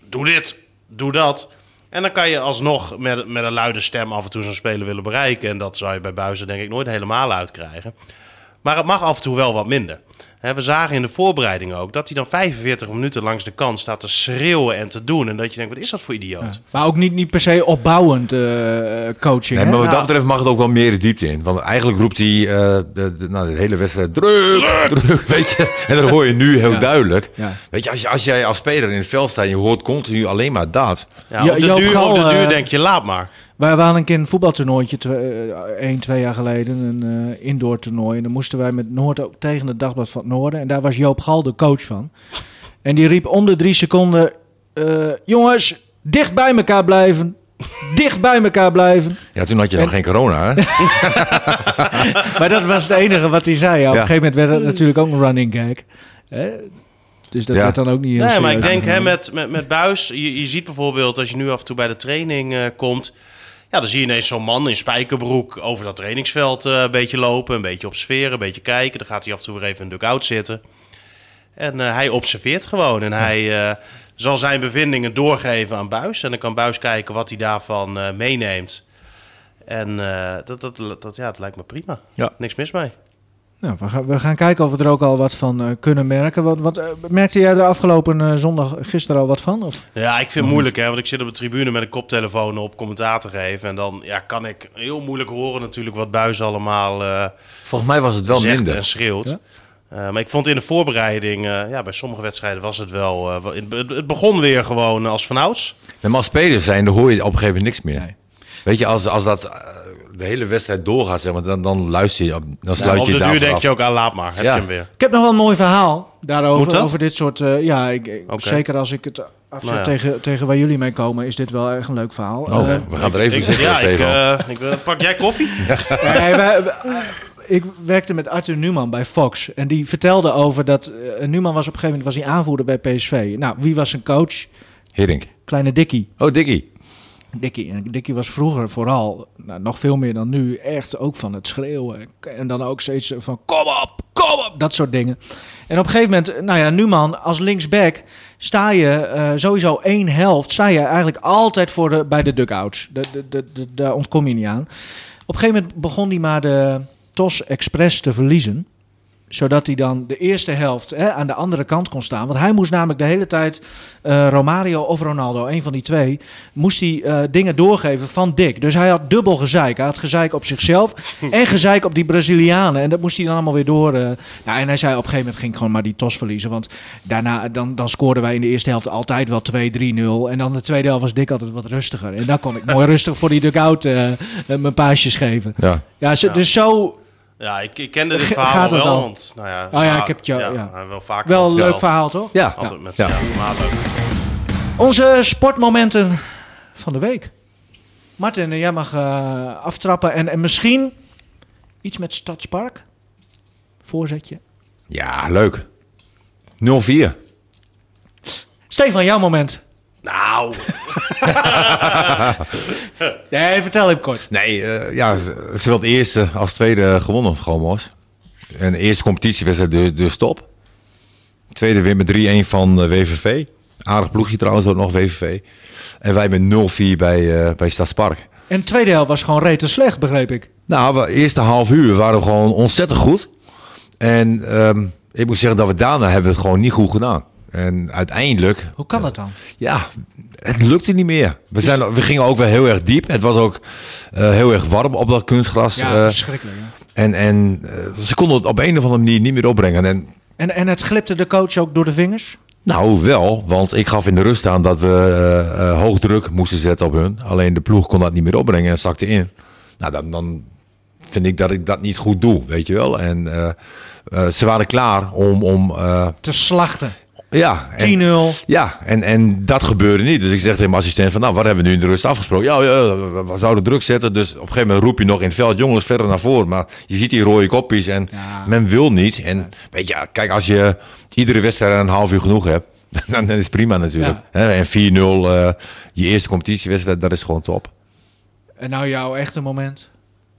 D: doe dit, doe dat. En dan kan je alsnog met, met een luide stem af en toe zo'n speler willen bereiken. En dat zou je bij Buizen denk ik nooit helemaal uitkrijgen. Maar het mag af en toe wel wat minder. Hè, we zagen in de voorbereiding ook dat hij dan 45 minuten langs de kant staat te schreeuwen en te doen. En dat je denkt, wat is dat voor idioot?
B: Maar ook niet, niet per se opbouwend eh, eh, coaching.
C: Nee, maar
B: hè?
C: wat dat betreft mag het ook wel meer de diepte in. Want eigenlijk roept hij eh, de, de- nou, de hele wedstrijd druk, druk, weet je. En dat hoor je nu heel duidelijk.
B: Ja.
C: Weet je als, je, als jij als speler in het veld staat en je hoort continu alleen maar dat.
D: Ja,
B: Ja,
D: op de,
B: Joop
D: duur,
B: Gal,
D: op de duur
B: eh,
D: denk je, laat maar.
B: Wij waren een keer een voetbaltoernooitje, twe- eh, één, twee jaar geleden, een eh, indoor toernooi. En dan moesten wij met Noord ook tegen het Dagblad van het Noorden. En daar was Joop Gal de coach van. En die riep om de drie seconden, eh, jongens, dicht bij elkaar blijven. Dicht bij elkaar blijven.
C: Ja, toen had je nog
B: En-
C: geen corona, hè?
B: Maar dat was het enige wat hij zei. Ja, op
C: Ja.
B: een gegeven moment werd dat natuurlijk ook een running gag. Hè? Dus dat
C: Ja.
B: werd dan ook niet heel
D: Nee, maar ik
B: serieus
D: denk hè,
B: genomen.
D: met, met, met Buis, je, je ziet bijvoorbeeld als je nu af en toe bij de training eh, komt. Ja, dan zie je ineens zo'n man in spijkerbroek over dat trainingsveld eh, een beetje lopen. Een beetje observeren, een beetje kijken. Dan gaat hij af en toe weer even in de dugout zitten. En eh, hij observeert gewoon. En hij eh, zal zijn bevindingen doorgeven aan Buis. En dan kan Buis kijken wat hij daarvan eh, meeneemt. En eh, dat, dat, dat, ja, dat lijkt me prima.
C: Ja.
D: Niks mis mee.
B: Nou, we, gaan, we gaan kijken of we er ook al wat van eh, kunnen merken. Wat, wat, eh, merkte jij er afgelopen eh, zondag, gisteren al wat van? Of?
D: Ja, ik vind het moeilijk, hè, want ik zit op de tribune met een koptelefoon op commentaar te geven. En dan ja, kan ik heel moeilijk horen natuurlijk wat Buis allemaal eh
C: Volgens mij was het wel
D: zegt
C: minder.
D: en schreeuwt.
B: Ja.
D: Eh, maar ik vond in de voorbereiding, eh, ja, bij sommige wedstrijden was het wel... eh, wel- het, het begon weer gewoon als vanouds.
C: En maar als speler zijn, dan hoor je op een gegeven moment niks meer. Weet je, als, als dat eh, de hele wedstrijd doorgaat, zeg maar, dan, dan luister je, op- dan
D: Maar
C: sluit
D: op
C: je
D: de
C: daar
D: duur
C: af.
D: denk je ook, ah, laat maar, heb
C: Ja.
D: je hem weer.
B: Ik heb nog wel een mooi verhaal
D: Moet
B: daarover.
D: dat?
B: Over dit soort. eh, ja, ik, ik-
D: Oké.
B: zeker als ik het afzet
D: Nou ja.
B: tegen, tegen waar jullie mee komen, is dit wel echt een leuk verhaal.
C: Oh,
B: Eh,
C: we gaan er even
D: Ik-
C: zitten,
D: ja, ik,
C: Stefan.
D: eh, ik, wil- pak jij koffie?
B: Eh, nee, wij- wij- ik werkte met Arthur Newman bij Fox. En die vertelde over dat. eh, Newman was op een gegeven moment was hij aanvoerder bij PSV. Nou, wie was zijn coach?
C: Hiddink.
B: Kleine Dikkie.
C: Oh, Dikkie.
B: Dikkie. En Dikkie was vroeger vooral, nou, nog veel meer dan nu, echt ook van het schreeuwen. En dan ook steeds van kom op, kom op, dat soort dingen. En op een gegeven moment, nou ja, Numan, als linksback sta je eh, sowieso één helft, sta je eigenlijk altijd voor de, bij de dugouts. De- de- de- de- Daar ontkom je niet aan. Op een gegeven moment begon hij maar de TOS Express te verliezen zodat hij dan de eerste helft hè, aan de andere kant kon staan. Want hij moest namelijk de hele tijd eh, Romario of Ronaldo, een van die twee, moest hij eh, dingen doorgeven van Dick. Dus hij had dubbel gezeik. Hij had gezeik op zichzelf en gezeik op die Brazilianen. En dat moest hij dan allemaal weer door. eh. nou, en hij zei op een gegeven moment ging ik gewoon maar die tos verliezen. Want daarna, dan, dan scoorden wij in de eerste helft altijd wel 2-3-0. En dan de tweede helft was Dick altijd wat rustiger. En dan kon ik mooi rustig voor die dugout eh, eh, mijn paasjes geven.
C: Ja.
B: Ja, ze- dus zo
D: Ja, ik, ik kende dit
B: Ga-
D: verhaal
B: gaat
D: wel,
B: het al? Oh
D: want... Nou ja,
B: ja, ik heb het jou- ja.
D: Wel, vaker
B: wel een
D: verteld.
B: leuk verhaal toch?
C: Ja.
D: Altijd met
C: Ja.
D: ja. maar leuk.
B: Onze sportmomenten van de week. Martin, eh, jij mag eh, aftrappen. En, en misschien iets met Stadspark. Voorzetje.
C: Ja, leuk. 0-4.
B: Stefan, jouw moment.
D: Nou,
B: Nee, vertel hem kort.
C: Nee, eh, ja, z- zowel de eerste als tweede gewonnen van GOMOS. En de eerste competitiewedstrijd dus, dus top. Tweede win met 3-1 van eh, WVV. Aardig ploegje trouwens ook nog, WVV. En wij met 0-4 bij, eh, bij Stadspark.
B: En de tweede helft was gewoon rete slecht, begreep ik.
C: Nou, we, eerste half uur waren we gewoon ontzettend goed. En ehm, ik moet zeggen dat we daarna hebben we het gewoon niet goed gedaan. En uiteindelijk
B: Hoe kan dat dan?
C: ja, het lukte niet meer. We, zijn, we gingen ook wel heel erg diep. Het was ook eh, heel erg warm op dat kunstgras.
B: Ja, dus-
C: eh,
B: verschrikkelijk. ja.
C: en en eh, ze konden het op een of andere manier niet meer opbrengen. En,
B: En, en het glipte de coach ook door de vingers?
C: nou, wel, want ik gaf in de rust aan dat we eh, eh, hoog druk moesten zetten op hun. Alleen de ploeg kon dat niet meer opbrengen en zakte in. Nou, dan, dan vind ik dat ik dat niet goed doe, weet je wel. En eh, eh, ze waren klaar om... om eh,
B: Te slachten. 10-0.
C: ja, en- Ja, en, en dat gebeurde niet. Dus ik zeg tegen mijn assistent van, nou, wat hebben we nu in de rust afgesproken? Ja, ja we, we zouden druk zetten. Dus op een gegeven moment roep je nog in het veld, jongens, verder naar voren. Maar je ziet die rode kopjes en men wil niet. En weet je, ja, kijk, als je iedere wedstrijd een half uur genoeg hebt, dan, dan is het prima natuurlijk. Hè, En 4-0, eh, je eerste competitiewedstrijd, dat is gewoon top.
B: En nou jouw echte moment?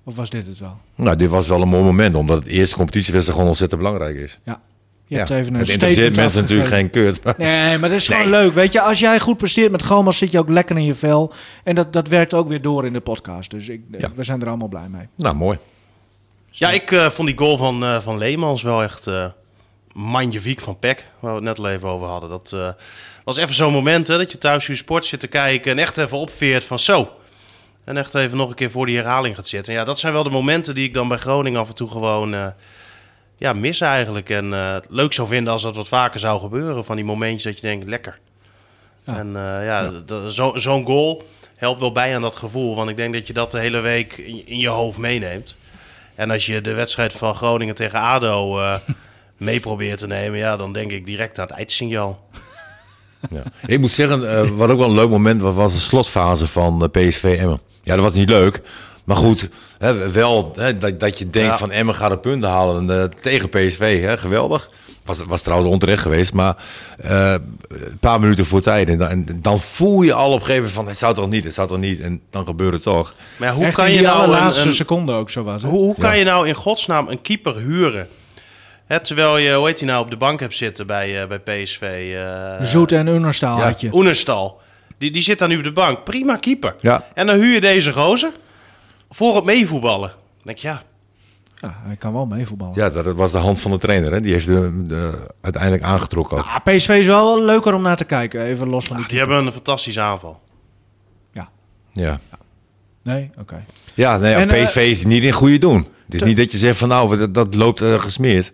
B: Of was dit het wel?
C: Nou, dit was wel een mooi moment, omdat het eerste competitiewedstrijd gewoon ontzettend belangrijk is.
B: Ja. Je hebt even een
C: het interesseert
B: statement
C: mensen natuurlijk
B: afgegeven.
C: geen keurt. maar-
B: Nee, maar dat is gewoon
C: Nee.
B: leuk. Weet je, als jij goed presteert met Gomas, zit je ook lekker in je vel. En dat, dat werkt ook weer door in de podcast. Dus ik,
C: Ja.
B: we zijn er allemaal blij mee.
C: Nou, mooi.
D: ja, ik eh, vond die goal van, eh, van Leemans wel echt eh magnifiek van Peck. Waar we het net al even over hadden. Dat eh, was even zo'n moment hè, dat je thuis je sport zit te kijken en echt even opveert van zo. En echt even nog een keer voor die herhaling gaat zitten. Ja, dat zijn wel de momenten die ik dan bij Groningen af en toe gewoon eh, ja, mis eigenlijk. En eh, leuk zou vinden als dat wat vaker zou gebeuren. Van die momentjes dat je denkt, lekker. En eh, ja, d- d- zo- zo'n goal helpt wel bij aan dat gevoel. Want ik denk dat je dat de hele week in, in je hoofd meeneemt. En als je de wedstrijd van Groningen tegen ADO eh, mee probeert te nemen... ja, dan denk ik direct aan het eindsignaal.
C: Ja. Ik moet zeggen, eh, wat ook wel een leuk moment was, was de slotfase van eh, PSV Emmen. Ja, dat was niet leuk. Maar goed, hè, wel hè, dat, dat je denkt
D: Ja.
C: van Emmen gaat de punten halen eh, tegen PSV. Hè, geweldig. Was, was trouwens onterecht geweest, maar eh, een paar minuten voor tijd. En dan, en dan voel je al op een gegeven moment van het zou toch niet, het zou toch niet. En dan gebeurt het toch.
D: Maar ja, hoe
B: Echt
D: kan
B: in
D: je
B: die
D: nou een-
B: allerlaatste
D: een,
B: seconde ook zo was. hè?
D: Hoe, hoe kan je nou in godsnaam een keeper huren? Hè, terwijl je, hoe heet hij nou, op de bank hebt zitten bij, eh, bij PSV. eh,
B: Zoet en Unnerstaal had je.
D: Oenerstal. Die, die zit daar nu op de bank. Prima keeper.
C: Ja.
D: En dan huur je deze gozer voor het meevoetballen. Dan denk ik, ja,
B: Ja, hij kan wel meevoetballen.
C: Ja, dat was de hand van de trainer. Hè. Die heeft de, de- uiteindelijk aangetrokken. ook.
B: Ah, PSV is wel leuker om naar te kijken. Even los van die...
D: die hebben een fantastische aanval.
C: Ja,
B: Nee? Oké.
C: ja nee,
B: En, eh,
C: PSV is niet in goede doen. Het is
B: te-
C: niet dat je zegt van nou, dat, dat loopt eh, gesmeerd.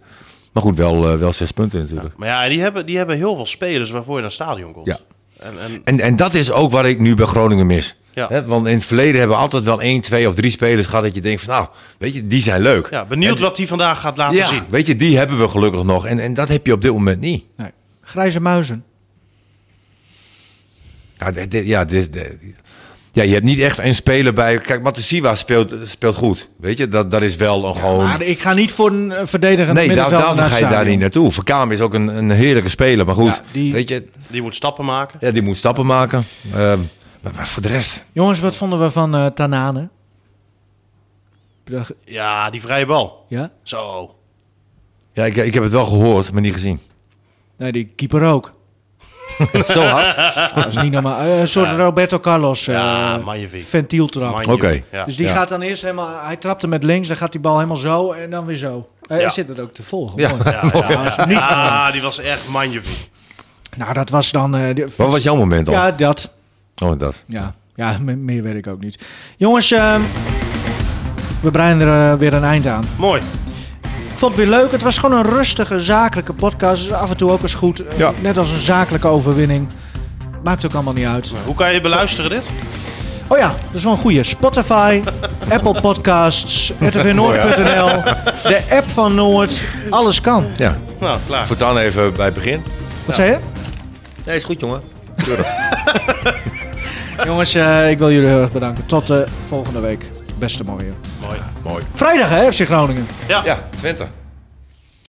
C: Maar goed, wel, eh, wel zes punten natuurlijk.
D: Maar ja, die hebben, die hebben heel veel spelers waarvoor je naar het stadion komt.
C: Ja.
D: En, en
C: En, en dat is ook wat ik nu bij Groningen mis.
D: Ja.
C: Hè, want in het verleden hebben we altijd wel één, twee of drie spelers gehad dat je denkt van nou, weet je, die zijn leuk.
D: ja, benieuwd wat hij vandaag gaat laten
C: Ja,
D: zien.
C: weet je, die hebben we gelukkig nog. En, en dat heb je op dit moment niet.
B: Nee. Grijze muizen.
C: Ja, dit- dit- ja, dit is de- ja, je hebt niet echt een speler bij. Kijk, Matasiwa speelt, speelt goed. Weet je, dat, dat is wel een gewoon.
B: Maar ik ga niet voor een eh, verdedigend
C: Oh. nee, daar,
B: middenveld
C: daarvoor
B: naar het
C: ga je daar
B: stadion.
C: niet naartoe. Verkaam is ook een, een heerlijke speler. Maar goed,
B: Ja, die-
C: weet je,
D: Die moet stappen maken.
C: ja, die moet stappen maken. Ehm, maar, maar voor de rest.
B: Jongens, wat vonden we van eh Tanane?
D: Ja, die vrije bal.
B: Ja?
D: Zo.
C: Ja, ik, ik heb het wel gehoord, maar niet gezien.
B: Nee, die keeper ook.
C: Zo hard.
B: Dat is niet normaal. Eh, een soort Roberto Carlos eh
D: Ja, magnifiek.
B: ventieltrap.
D: Oké.
C: Oké.
D: Ja.
B: Dus die
C: Ja.
B: gaat dan eerst helemaal... Hij trapt hem met links, dan gaat die bal helemaal zo en dan weer zo. Eh,
D: Ja.
B: Hij zit het ook te volgen.
C: Ja.
B: Mooi.
D: Ja, ja, ja.
B: is niet-
D: Ah, die was echt magnifiek.
B: Nou, dat was dan... eh, de-
C: Wat was jouw moment al?
B: Ja, dat.
C: Oh, dat.
B: Ja, ja me- meer weet ik ook niet. Jongens, ehm, we breien er eh, weer een eind aan.
D: Mooi.
B: Ik vond het weer leuk. Het was gewoon een rustige, zakelijke podcast. Dus af en toe ook eens goed. eh,
C: Ja.
B: Net als een zakelijke overwinning. Maakt ook allemaal niet uit.
D: Hoe kan je beluisteren dit?
B: Oh ja, dat is wel een goeie. Spotify, Apple Podcasts, rtvnoord.nl, de app van Noord. Alles kan.
C: Oh Ja.
D: Nou, klaar.
C: Voortaan even bij het begin.
B: Wat zei je?
C: Nee, is goed, jongen.
B: Jongens, eh, ik wil jullie heel erg bedanken. Tot de volgende week. Beste mooie.
D: Mooi.
C: Mooi.
B: Vrijdag hè, FC Groningen.
D: Ja.
C: Ja, Twente.